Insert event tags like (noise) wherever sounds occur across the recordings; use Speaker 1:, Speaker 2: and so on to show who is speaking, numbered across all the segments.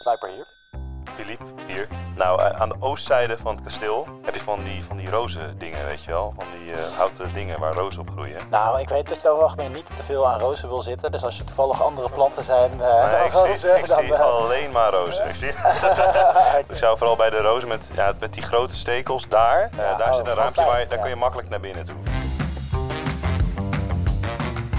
Speaker 1: Slijper hier. Filip, hier. Nou, a- aan de oostzijde van het kasteel heb je van die, van die rozen dingen, weet je wel? Van die eh, houten dingen waar rozen op groeien.
Speaker 2: Nou, ik weet dat je over het algemeen niet te veel aan rozen wil zitten. Dus als je toevallig andere planten zijn eh,
Speaker 1: Nee,
Speaker 2: (laughs) dan
Speaker 1: ik zie,
Speaker 2: rozen,
Speaker 1: ik
Speaker 2: dan...
Speaker 1: zie
Speaker 2: eh,
Speaker 1: alleen maar rozen. Ik, zie, (laughs)
Speaker 2: (laughs)
Speaker 1: ik zou vooral bij de rozen met, ja, met die grote stekels daar, eh,
Speaker 2: Ja,
Speaker 1: daar
Speaker 2: oh,
Speaker 1: zit een
Speaker 2: van
Speaker 1: raampje waar je,
Speaker 2: klein,
Speaker 1: daar
Speaker 2: ja.
Speaker 1: kun je makkelijk naar binnen toe.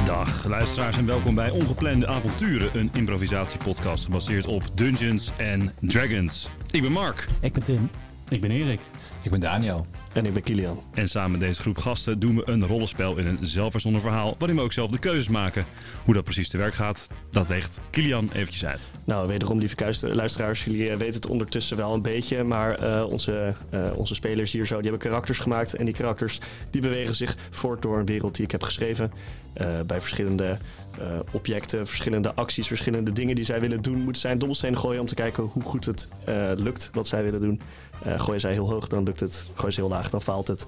Speaker 3: Dag luisteraars en welkom bij Ongeplande Avonturen, een improvisatiepodcast gebaseerd op Dungeons and Dragons. Ik ben Mark.
Speaker 4: Ik ben Tim.
Speaker 5: Ik ben Erik.
Speaker 6: Ik ben Daniel.
Speaker 7: En ik ben Kilian.
Speaker 3: En samen met deze groep gasten doen we een rollenspel in een zelfverzonnen verhaal waarin we ook zelf de keuzes maken. Hoe dat precies te werk gaat, dat legt Kilian eventjes uit.
Speaker 7: Nou, wederom, lieve kuis- luisteraars, jullie eh, weten het ondertussen wel een beetje. Maar eh, onze, eh, onze spelers hier zo, die hebben karakters gemaakt. En die karakters die bewegen zich voort door een wereld die ik heb geschreven. Eh, bij verschillende eh, objecten, verschillende acties, verschillende dingen die zij willen doen. Moeten zij een dobbelsteen gooien om te kijken hoe goed het eh, lukt wat zij willen doen. Eh, gooien zij heel hoog, dan lukt het. Gooien ze heel laag, dan faalt het.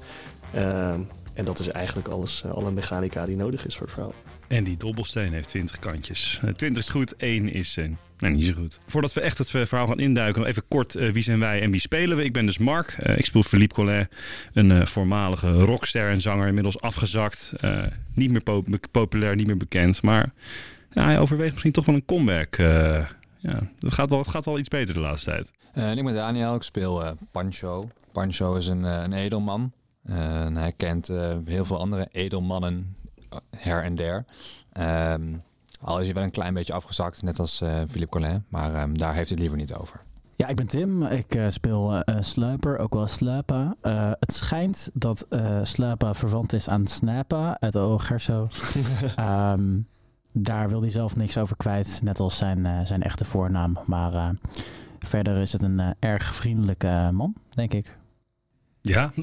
Speaker 7: Ehm, en dat is eigenlijk alles, eh, alle mechanica die nodig is voor het verhaal.
Speaker 3: En die dobbelsteen heeft 20 kantjes. Eh, 20 is goed, 1 is eh, nou, niet zo goed. Voordat we echt het eh, verhaal gaan induiken, nog even kort eh, wie zijn wij en wie spelen we. Ik ben dus Mark. Eh, ik speel Philippe Collet, een eh, voormalige rockster en zanger, inmiddels afgezakt. Eh, niet meer po- populair, niet meer bekend, maar ja, hij overweegt misschien toch wel een comeback. Eh, ja, het gaat, wel, het gaat wel iets beter de laatste tijd.
Speaker 6: Eh, en ik ben Daniel, ik speel eh, Pancho. Pancho is een, eh, een edelman. Eh, en hij kent eh, heel veel andere edelmannen eh, her en der. Ehm, al is hij wel een klein beetje afgezakt, net als eh, Philippe Collin. Maar ehm, daar heeft hij het liever niet over.
Speaker 4: Ja, ik ben Tim. Ik eh, speel eh, eh, Sluiper, ook wel Slapa. Eh, het schijnt dat eh Slapa verwant is aan Snappa uit O
Speaker 6: (laughs)
Speaker 4: Gerso. Ehm, daar wil hij zelf niks over kwijt, net als zijn, eh, zijn echte voornaam. Maar eh, verder is het een eh, erg vriendelijke eh, man, denk ik.
Speaker 6: (laughs)
Speaker 3: Ja?
Speaker 4: Ah,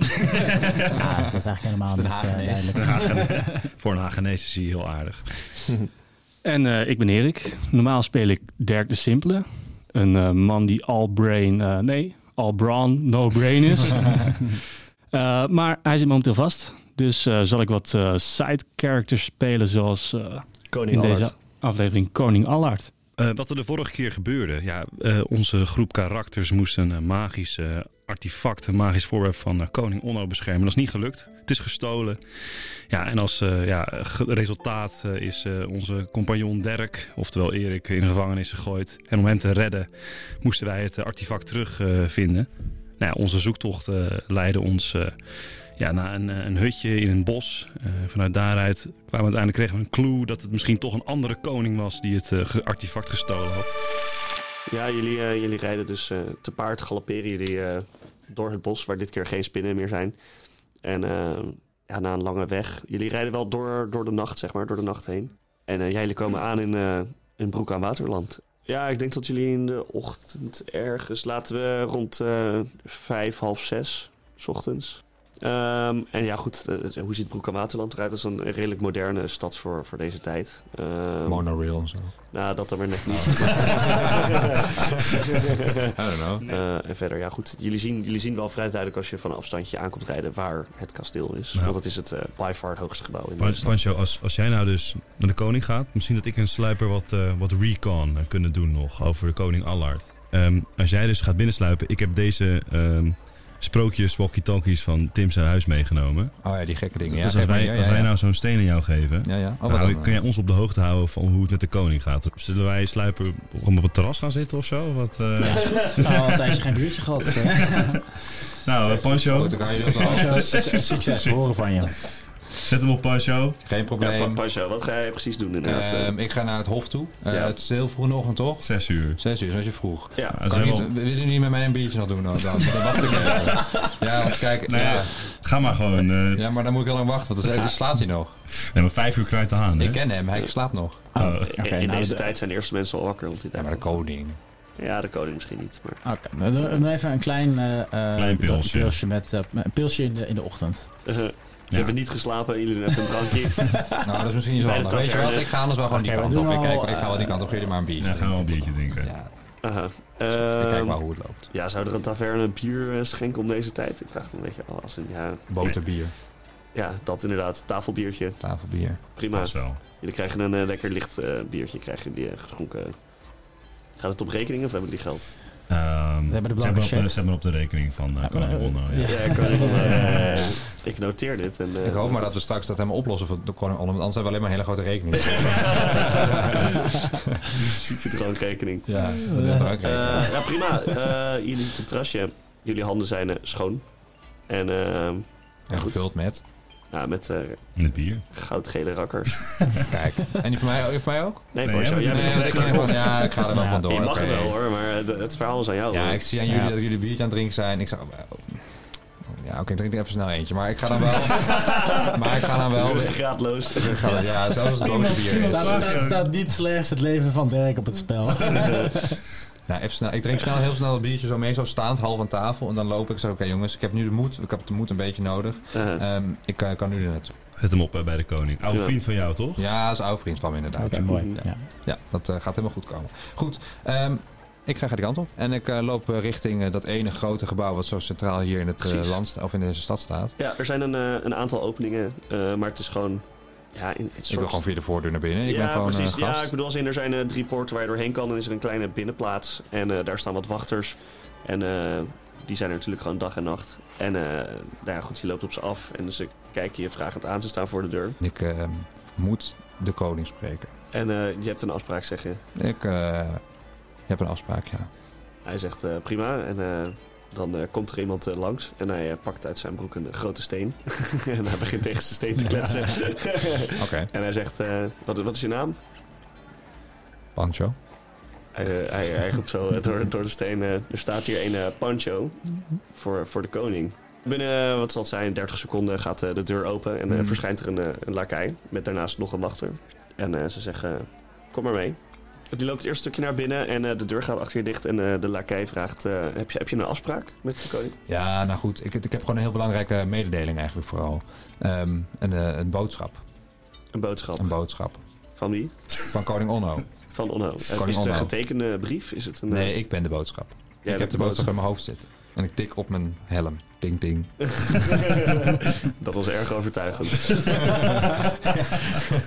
Speaker 4: dat is eigenlijk
Speaker 3: (laughs)
Speaker 4: helemaal
Speaker 6: Is het een
Speaker 4: niet eh,
Speaker 6: Hagenees? (laughs)
Speaker 4: duidelijk.
Speaker 3: Voor een Hagenese zie je heel aardig.
Speaker 5: En eh, ik ben Erik. Normaal speel ik Dirk de Simpele. Een eh, man die all brain, eh, nee, all brawn, no brain (laughs) is. Eh, maar hij zit momenteel vast. Dus eh, zal ik wat eh, side characters spelen zoals eh,
Speaker 7: Koning
Speaker 5: in
Speaker 7: Allard.
Speaker 5: deze aflevering Koning Allard.
Speaker 3: Eh, wat er de vorige keer gebeurde. Ja, eh, onze groep karakters moest een eh, magisch eh, artefact, een magisch voorwerp van eh, koning Onno beschermen. Dat is niet gelukt. Het is gestolen. Ja, en als eh, ja, ge- resultaat eh, is eh, onze compagnon Dirk, oftewel Erik, in de gevangenis gegooid. En om hem te redden moesten wij het eh, artefact terugvinden. nou ja, onze zoektocht eh, leidde ons eh, ja, naar een, eh, een hutje in een bos. Eh, vanuit daaruit kwamen we uiteindelijk kregen we een clue dat het misschien toch een andere koning was die het eh, ge- artefact gestolen had.
Speaker 7: Ja, jullie, eh, jullie rijden dus eh, te paard, galopperen jullie eh, door het bos, waar dit keer geen spinnen meer zijn. En eh, ja, na een lange weg. Jullie rijden wel door, door de nacht, zeg maar, door de nacht heen. En eh, ja, jullie komen aan in, eh, in Broek aan Waterland. Ja, ik denk dat jullie in de ochtend ergens, laten we rond eh, vijf, half zes, s ochtends. Ehm, en ja, goed, eh, hoe ziet Broek aan Waterland eruit? Dat is een redelijk moderne stad voor, voor deze tijd. Ehm,
Speaker 6: Monorail (laughs) en zo.
Speaker 7: nou, dat dan weer net
Speaker 6: (laughs)
Speaker 7: niet.
Speaker 6: I don't know.
Speaker 7: Eh, en verder, ja goed, jullie zien, jullie zien wel vrij duidelijk als je van een afstandje aankomt rijden waar het kasteel is.
Speaker 3: Ja.
Speaker 7: Want dat is het eh, by far het hoogste gebouw in de
Speaker 3: Pan-
Speaker 7: stad.
Speaker 3: Pancho, als, als jij nou dus naar de koning gaat, misschien dat ik en Sluiper wat, eh, wat recon eh, kunnen doen nog over de koning Allard. Ehm, als jij dus gaat binnensluipen, ik heb deze ehm, sprookjes, walkie-talkies van Tim zijn huis meegenomen.
Speaker 6: Oh ja, die gekke dingen. Ja,
Speaker 3: dus als
Speaker 6: geef maar.
Speaker 3: wij,
Speaker 6: Ja, ja,
Speaker 3: als wij
Speaker 6: ja.
Speaker 3: nou zo'n steen aan jou geven,
Speaker 6: Ja, ja. Oh, wat
Speaker 3: nou,
Speaker 6: dan?
Speaker 3: kun jij ons op de hoogte houden van hoe het met de koning gaat. Zullen wij Sluiper op het terras gaan zitten of zo? Wat,
Speaker 6: (laughs)
Speaker 3: eh,
Speaker 4: Nou, al een tijdje geen biertje gehad. eh.
Speaker 3: nou, eh, Pancho,
Speaker 6: Oh, dan kan je (laughs) dat
Speaker 3: (laughs)
Speaker 6: wel.
Speaker 4: Succes, we horen van je.
Speaker 3: zet hem op Pancho.
Speaker 6: Geen
Speaker 7: Ja, pa-
Speaker 6: probleem.
Speaker 7: Pasha, wat ga jij precies doen inderdaad? Eh,
Speaker 6: Ehm, ik ga naar het hof toe. Eh,
Speaker 7: Ja.
Speaker 6: Het is heel vroeg nog, toch?
Speaker 3: Zes uur.
Speaker 6: Zes uur, zoals je vroeg.
Speaker 7: Eh, ja,
Speaker 3: Nou,
Speaker 6: Kan
Speaker 3: zijn we
Speaker 6: niet,
Speaker 3: al-
Speaker 6: wil je niet met mij een biertje nog doen? Dan, dan, dan wacht ik even. Ja, want kijk,
Speaker 3: Nee,
Speaker 6: ja,
Speaker 3: Ga maar gewoon. eh,
Speaker 6: ja, maar dan moet ik heel lang wachten, want dan dan slaapt hij nog.
Speaker 3: nee, maar vijf uur kruidt de haan. hè?
Speaker 6: Ik ken hem, hij slaapt nog.
Speaker 4: Oh,
Speaker 3: Oh,
Speaker 4: Oké,
Speaker 7: in
Speaker 4: nou,
Speaker 7: deze
Speaker 4: de-
Speaker 7: tijd zijn de eerste mensen al wakker. Want die tijd- ja,
Speaker 6: koning.
Speaker 7: de koning misschien niet. Maar...
Speaker 4: Oké, nou, dan- dan even een klein, eh, eh,
Speaker 3: Klein pilsje.
Speaker 4: met, eh, een pilsje in de, in de ochtend.
Speaker 7: Eh, We hebben niet geslapen, jullie doen even een drankje.
Speaker 6: Nou, dat is misschien niet zo
Speaker 7: Bij de
Speaker 6: handig. Weet je wat,
Speaker 7: taverne.
Speaker 6: ik ga anders wel gewoon
Speaker 4: Oké,
Speaker 6: die
Speaker 4: we
Speaker 6: kant
Speaker 4: doen
Speaker 6: op. Ik,
Speaker 4: al,
Speaker 6: kijk,
Speaker 7: Nou,
Speaker 6: ik ga wel
Speaker 7: eh,
Speaker 6: die kant op, jullie maar een biertje
Speaker 3: Ja, gaan we
Speaker 6: drinken.
Speaker 3: een biertje drinken.
Speaker 6: Ja,
Speaker 7: Aha.
Speaker 6: ik kijk
Speaker 7: Ehm,
Speaker 6: wel hoe het loopt.
Speaker 7: ja, zou er een taverne een bier eh, schenken om deze tijd? Ik vraag me een beetje af. als in, Ja,
Speaker 6: Boterbier,
Speaker 7: ja, dat inderdaad. Tafelbiertje,
Speaker 6: tafelbier.
Speaker 7: prima.
Speaker 3: Pas wel.
Speaker 7: Jullie krijgen een eh, lekker licht eh, biertje krijgen jullie, eh, geschonken. Gaat Gaat het op rekening of hebben die geld?
Speaker 4: hebben de
Speaker 3: Ehm,
Speaker 4: blanke
Speaker 8: zet, maar op de,
Speaker 4: check.
Speaker 8: zet maar op de rekening van eh
Speaker 4: Ja,
Speaker 8: Koning
Speaker 4: maar, eh,
Speaker 8: Ronno.
Speaker 3: (laughs)
Speaker 4: ja.
Speaker 8: Ja.
Speaker 7: Ja, Koning (laughs) Ronno, eh, ik noteer dit. En, eh,
Speaker 6: Ik hoop maar dat we straks dat helemaal oplossen voor de koning Olm, want anders hebben we alleen maar hele grote rekeningen.
Speaker 7: Zieke drankrekening.
Speaker 6: ja, dat is ook
Speaker 7: Eh, ja, prima. Eh, jullie zitten op het terrasje. Jullie handen zijn eh, schoon. En eh,
Speaker 6: en
Speaker 7: goed.
Speaker 6: gevuld met.
Speaker 7: ja, met eh,
Speaker 8: Met bier.
Speaker 7: goudgele rakkers.
Speaker 6: Kijk. En die van mij, die van mij ook?
Speaker 7: Nee,
Speaker 8: Nee,
Speaker 7: Bas,
Speaker 8: jij
Speaker 7: jij
Speaker 8: bent
Speaker 7: bent toch
Speaker 6: Nee,
Speaker 7: net
Speaker 6: ik
Speaker 7: klaar?
Speaker 6: denk van, ja, ik ga er wel
Speaker 4: Ja,
Speaker 6: vandoor.
Speaker 7: Je mag het
Speaker 6: oké.
Speaker 7: wel hoor, maar eh, de- het verhaal is aan jou.
Speaker 6: Ja,
Speaker 7: hoor.
Speaker 6: ik zie aan jullie
Speaker 4: Ja.
Speaker 6: dat jullie biertje aan het drinken zijn. Ik zou... oh, Ja, oké, ik drink er even snel eentje. Maar ik ga dan wel...
Speaker 7: (laughs)
Speaker 6: maar ik ga dan wel...
Speaker 7: Ruggengraatloos.
Speaker 6: (laughs) Ik ga dan- ja, zelfs als het boze bier is.
Speaker 4: Staat, staat, staat niet slechts het leven van Dirk op het spel.
Speaker 6: Nou, even snel. Ik drink snel, heel snel dat biertje zo mee, zo staand, half aan tafel. En dan loop ik en zeg, oké jongens, ik heb nu de moed. Ik heb de moed een beetje nodig.
Speaker 7: Eh,
Speaker 6: Ehm, ik kan, ik kan nu er naartoe.
Speaker 8: Zet hem op eh, bij de koning. Oude
Speaker 7: Ja.
Speaker 8: vriend van jou,
Speaker 6: (laughs)
Speaker 8: toch?
Speaker 6: Ja, dat is een oude vriend van me inderdaad.
Speaker 4: Oké, mooi.
Speaker 7: Mhm.
Speaker 4: Ja.
Speaker 6: Ja, dat eh, gaat helemaal goed komen. Goed, ehm, ik ga die kant op. En ik eh, loop eh, richting eh, dat ene grote gebouw wat zo centraal hier in het eh,
Speaker 7: Precies.
Speaker 6: land sta- of in deze stad staat.
Speaker 7: ja, er zijn een, eh, een aantal openingen, eh, maar het is gewoon... Ja, in, het
Speaker 6: Ik wil
Speaker 7: soort...
Speaker 6: gewoon via de voordeur naar binnen. Ik
Speaker 7: ja,
Speaker 6: ben gewoon eh,
Speaker 7: precies. ja, ik
Speaker 6: gast.
Speaker 7: bedoel, als in, er zijn eh, drie poorten waar je doorheen kan. Dan is er een kleine binnenplaats en eh, daar staan wat wachters. En eh, die zijn er natuurlijk gewoon dag en nacht. En eh, nou ja, goed, je loopt op ze af en ze kijken je vragend aan. Ze staan voor de deur.
Speaker 6: Ik ehm, moet de koning spreken.
Speaker 7: En eh, je hebt een afspraak, zeg je.
Speaker 6: Ik eh, heb een afspraak, ja.
Speaker 7: Hij zegt eh, prima en eh, dan eh, komt er iemand eh, langs en hij eh, pakt uit zijn broek een grote steen. (laughs) en hij begint tegen zijn steen te kletsen. (laughs)
Speaker 6: Oké,
Speaker 7: en hij zegt, eh, wat, wat is je naam?
Speaker 6: Pancho.
Speaker 7: Hij, eh, hij, hij roept zo eh, door, door de steen, eh, er staat hier een eh, pancho voor, voor de koning. Binnen, eh, wat zal het zijn, 30 seconden gaat eh, de deur open en eh,
Speaker 6: Mm.
Speaker 7: verschijnt er een, eh, een lakai met daarnaast nog een wachter. En eh, ze zeggen, eh, kom maar mee. Die loopt het eerste stukje naar binnen en eh, de deur gaat achter je dicht. En eh, de lakai vraagt, eh, heb, je, heb je een afspraak met de koning?
Speaker 6: Ja, nou goed. Ik, ik heb gewoon een heel belangrijke mededeling eigenlijk vooral. Ehm, een, eh, een boodschap.
Speaker 7: Een boodschap.
Speaker 6: Een boodschap.
Speaker 7: Van wie?
Speaker 6: Van koning Onno.
Speaker 7: Van Onno. Eh,
Speaker 6: Koning
Speaker 7: is het een
Speaker 6: Onno.
Speaker 7: getekende brief? Is het een, eh,
Speaker 6: Nee, ik ben de boodschap.
Speaker 7: Jij
Speaker 6: ik heb
Speaker 7: bent
Speaker 6: de boodschap in mijn hoofd zitten. En ik tik op mijn helm. Ding, ding.
Speaker 7: (laughs) dat was erg overtuigend.
Speaker 6: (laughs)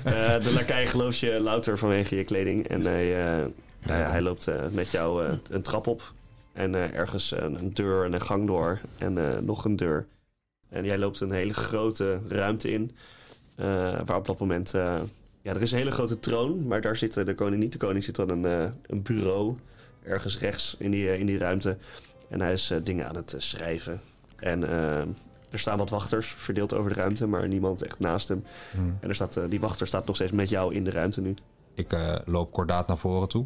Speaker 7: Eh, de lakai gelooft je louter vanwege je kleding. En hij, eh, nou ja, hij loopt eh, met jou eh, een trap op. En eh, ergens een, een deur en een gang door. En eh, nog een deur. En jij loopt een hele grote ruimte in. eh, waar op dat moment... eh, ja, er is een hele grote troon. Maar daar zit eh, de koning niet. De koning zit aan een, eh, een bureau. Ergens rechts in die, eh, in die ruimte. En hij is eh, dingen aan het eh, schrijven. En eh, er staan wat wachters verdeeld over de ruimte. Maar niemand echt naast hem.
Speaker 6: Hm.
Speaker 7: En er staat, eh, die wachter staat nog steeds met jou in de ruimte nu.
Speaker 6: Ik eh, loop kordaat naar voren toe.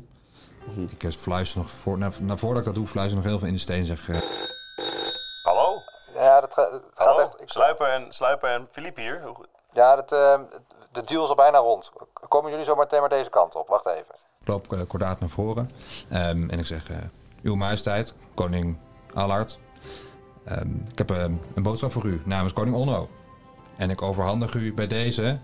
Speaker 7: Mhm.
Speaker 6: Ik eh, fluister nog voor, na, na- voordat ik dat doe, fluister nog heel veel in de steen. en Zeg, eh,
Speaker 1: Hallo?
Speaker 9: Ja, dat, ga- dat gaat
Speaker 1: Hallo?
Speaker 9: echt. ik-
Speaker 1: Sluiper en, Sluiper en Filip hier. Hoe goed-
Speaker 9: ja, dat, eh, de deal is al bijna rond. Komen jullie zo meteen maar deze kant op? Wacht even.
Speaker 6: ik loop eh, kordaat naar voren. Ehm, en ik zeg, eh, uw majesteit, koning Allard. ehm, ik heb eh, een boodschap voor u namens koning Onno. En ik overhandig u bij deze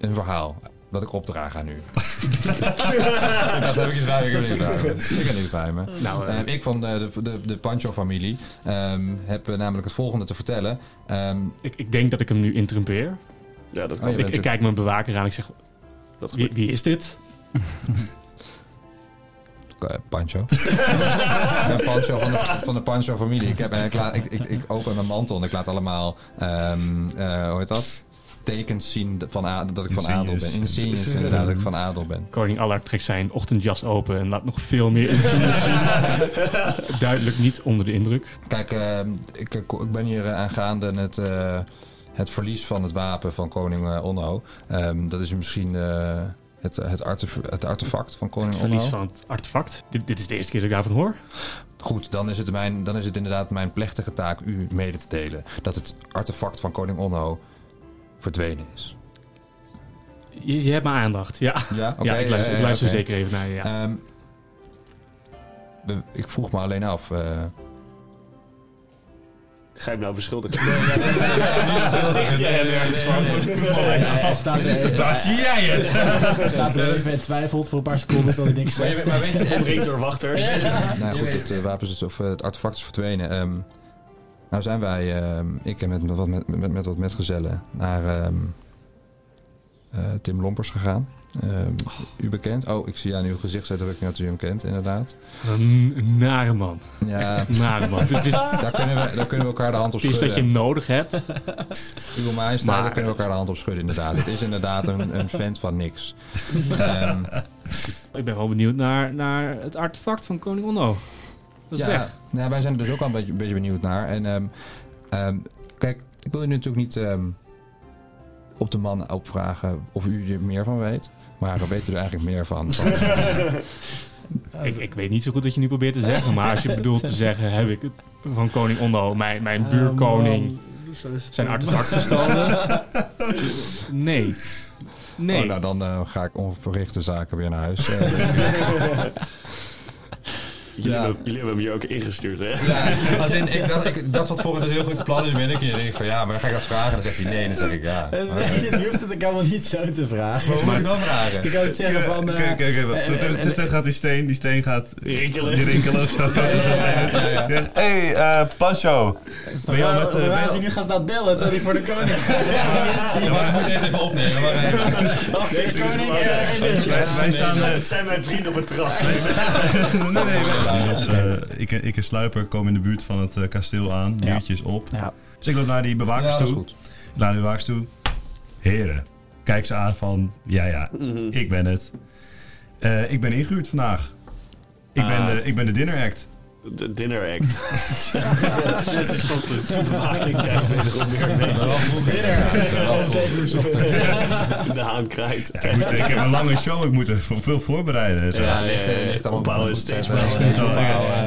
Speaker 6: een verhaal dat ik opdraag aan u.
Speaker 5: (laughs)
Speaker 6: dat heb ik iets bij me. Ik heb niks bij me. Ik heb niks bij me.
Speaker 7: Nou,
Speaker 5: eh,
Speaker 6: Ehm, ik van de, de, de, de Pancho-familie ehm, heb eh, namelijk het volgende te vertellen. Ehm,
Speaker 5: Ik, ik denk dat ik hem nu interrumpeer.
Speaker 7: ja, dat
Speaker 6: oh, je
Speaker 7: kan.
Speaker 5: Ik, ik
Speaker 6: bent-
Speaker 5: kijk mijn bewaker aan. Ik zeg,
Speaker 7: dat
Speaker 5: wie,
Speaker 7: gebeurt.
Speaker 5: wie is dit?
Speaker 6: Eh, Pancho. (laughs) ik ben Pancho van de, van de Pancho-familie. Ik, heb- en ik, laat- ik, ik, ik open mijn mantel en ik laat allemaal, ehm, eh, hoe heet dat? Tekens zien van a- dat ik van adel ben.
Speaker 8: Insignes.
Speaker 6: Insignes, inderdaad, dat ik van adel ben.
Speaker 5: Koning Allard trekt zijn ochtendjas open en laat nog veel meer insignes zien.
Speaker 7: (laughs)
Speaker 5: Duidelijk niet onder de
Speaker 7: Oh,
Speaker 5: indruk.
Speaker 6: Kijk, ehm, ik, ik ik ben hier eh, aangaande het, eh, het verlies van het wapen van koning eh, Onno. Ehm, dat is u misschien eh, het, het, artef het artefact van koning
Speaker 5: Het
Speaker 6: Onno.
Speaker 7: nou.
Speaker 5: verlies van het artefact. Dit, dit is de eerste keer dat ik daarvan hoor.
Speaker 6: Goed, dan is, het mijn, dan is het inderdaad mijn plechtige taak u mede te delen dat het artefact van koning Onno verdwenen is.
Speaker 5: Je, je hebt mijn aandacht. Ja,
Speaker 6: Ja, oké,
Speaker 5: ja ik luister, ik
Speaker 6: eh,
Speaker 5: luister
Speaker 6: oké.
Speaker 5: zeker even naar je. Ja.
Speaker 6: Ehm, we- ik vroeg me alleen af. eh,
Speaker 7: Ga je hem nou (laughs) beschuldigen?
Speaker 6: Ticht je hem ergens van?
Speaker 4: Eh, Hij staat er,
Speaker 8: zie jij het?
Speaker 4: hij staat er even in twijfelt voor een paar seconden tot hij niks
Speaker 6: Maar je-
Speaker 4: zegt.
Speaker 6: maar weet (laughs) je-
Speaker 7: Omringd door wachters.
Speaker 6: Nou goed, het, eh, wapens is, of, eh, het artefact is verdwenen. Ehm, nou zijn wij, ehm, ik en met, wat met, met, met wat metgezellen, naar ehm, eh, Tim Lompers gegaan. Ehm, u bekend? Oh, ik zie aan uw gezichtsuitdrukking dat u hem kent, inderdaad.
Speaker 5: Een nare man.
Speaker 6: Ja,
Speaker 5: (laughs) Echt een nare
Speaker 6: (laughs)
Speaker 5: man. Het is,
Speaker 6: daar, kunnen we, daar kunnen we elkaar de hand op
Speaker 5: het is
Speaker 6: schudden.
Speaker 5: dat je hem nodig hebt.
Speaker 6: Uw majesteit,
Speaker 5: Maar-
Speaker 6: daar kunnen we elkaar de hand op schudden, inderdaad. Het is inderdaad een, een vent van
Speaker 5: (laughs)
Speaker 6: niks. Ehm,
Speaker 5: Ik ben wel benieuwd naar, naar het artefact van koning Onno. Dat is
Speaker 6: ja,
Speaker 5: weg.
Speaker 6: Nou, wij zijn er dus ook al een beetje, een beetje benieuwd naar. En ehm, ehm, kijk, ik wil u natuurlijk niet ehm, op de man opvragen of u er meer van weet. Maar we weten er eigenlijk meer van. van
Speaker 5: Ik, ik weet niet zo goed wat je nu probeert te zeggen,
Speaker 6: (laughs)
Speaker 5: maar als je bedoelt te zeggen, heb ik het van koning Onno, mijn,
Speaker 6: Eh,
Speaker 5: mijn buurkoning, zijn artefact gestolen?
Speaker 6: (laughs)
Speaker 5: Nee. Nee.
Speaker 6: Oh, nou, dan eh, ga ik onverrichte zaken weer naar huis. Eh,
Speaker 5: (laughs)
Speaker 7: Jullie,
Speaker 6: Ja.
Speaker 7: hebben, jullie hebben hem hier ook ingestuurd, hè?
Speaker 6: Ja, (laughs) als in, ik dacht, ik dacht wat volgens een heel goed plan is, ben ik hier. Dan denk ik van ja, maar dan ga ik dat vragen. Dan zegt hij nee, en dan zeg ik (laughs) ja. Maar
Speaker 4: Je hoeft het ook helemaal niet zo te vragen.
Speaker 6: Wat moet ik dan vragen?
Speaker 4: Je kan het zeggen van... eh,
Speaker 3: Kijk, kijk,
Speaker 4: eh, eh,
Speaker 3: even.
Speaker 4: eh,
Speaker 3: Dus dat gaat die steen, die steen gaat
Speaker 7: Rinkelen.
Speaker 3: die rinkelen of zo.
Speaker 6: ja.
Speaker 3: Hé, hey, eh, Pancho. Ben je al met, eh, ben je
Speaker 4: Terwijl
Speaker 3: al-
Speaker 4: ze nu gaan staan bellen, dat hij voor de koning staat.
Speaker 6: Ja, maar ik moet deze even opnemen. Maar, eh,
Speaker 4: Wacht, ik zo niet erg.
Speaker 3: Wij- Wij staan... eh,
Speaker 7: Het zijn mijn vrienden op het terras.
Speaker 3: (laughs) Nee, nee, wij- dus, eh, ik, en- ik en Sluiper komen in de buurt van het eh, kasteel aan.
Speaker 4: Ja.
Speaker 3: Muurtjes op.
Speaker 4: Ja.
Speaker 3: Dus ik loop naar die
Speaker 6: ja,
Speaker 3: bewakers
Speaker 6: dat is
Speaker 3: toe.
Speaker 6: goed.
Speaker 3: Ik Laat de bewakers toe. Heren, kijk ze aan van... Ja, ja, ik ben het. Eh, ik ben ingehuurd vandaag. Ik, ben
Speaker 7: Ah.
Speaker 3: de, ik ben de dinner act.
Speaker 7: De dinner act. (laughs) Zes is op de supermarkt. Kijkt weer erop weer De haan kraait.
Speaker 3: Ja, ik, moet- ik heb een lange show, ik moet er veel voorbereiden. en Zo.
Speaker 6: Ja, ligt, eh, ligt allemaal
Speaker 7: Opbouwen
Speaker 6: goed.
Speaker 7: is steeds
Speaker 6: Eh,
Speaker 7: maar
Speaker 3: Dus dan- ik,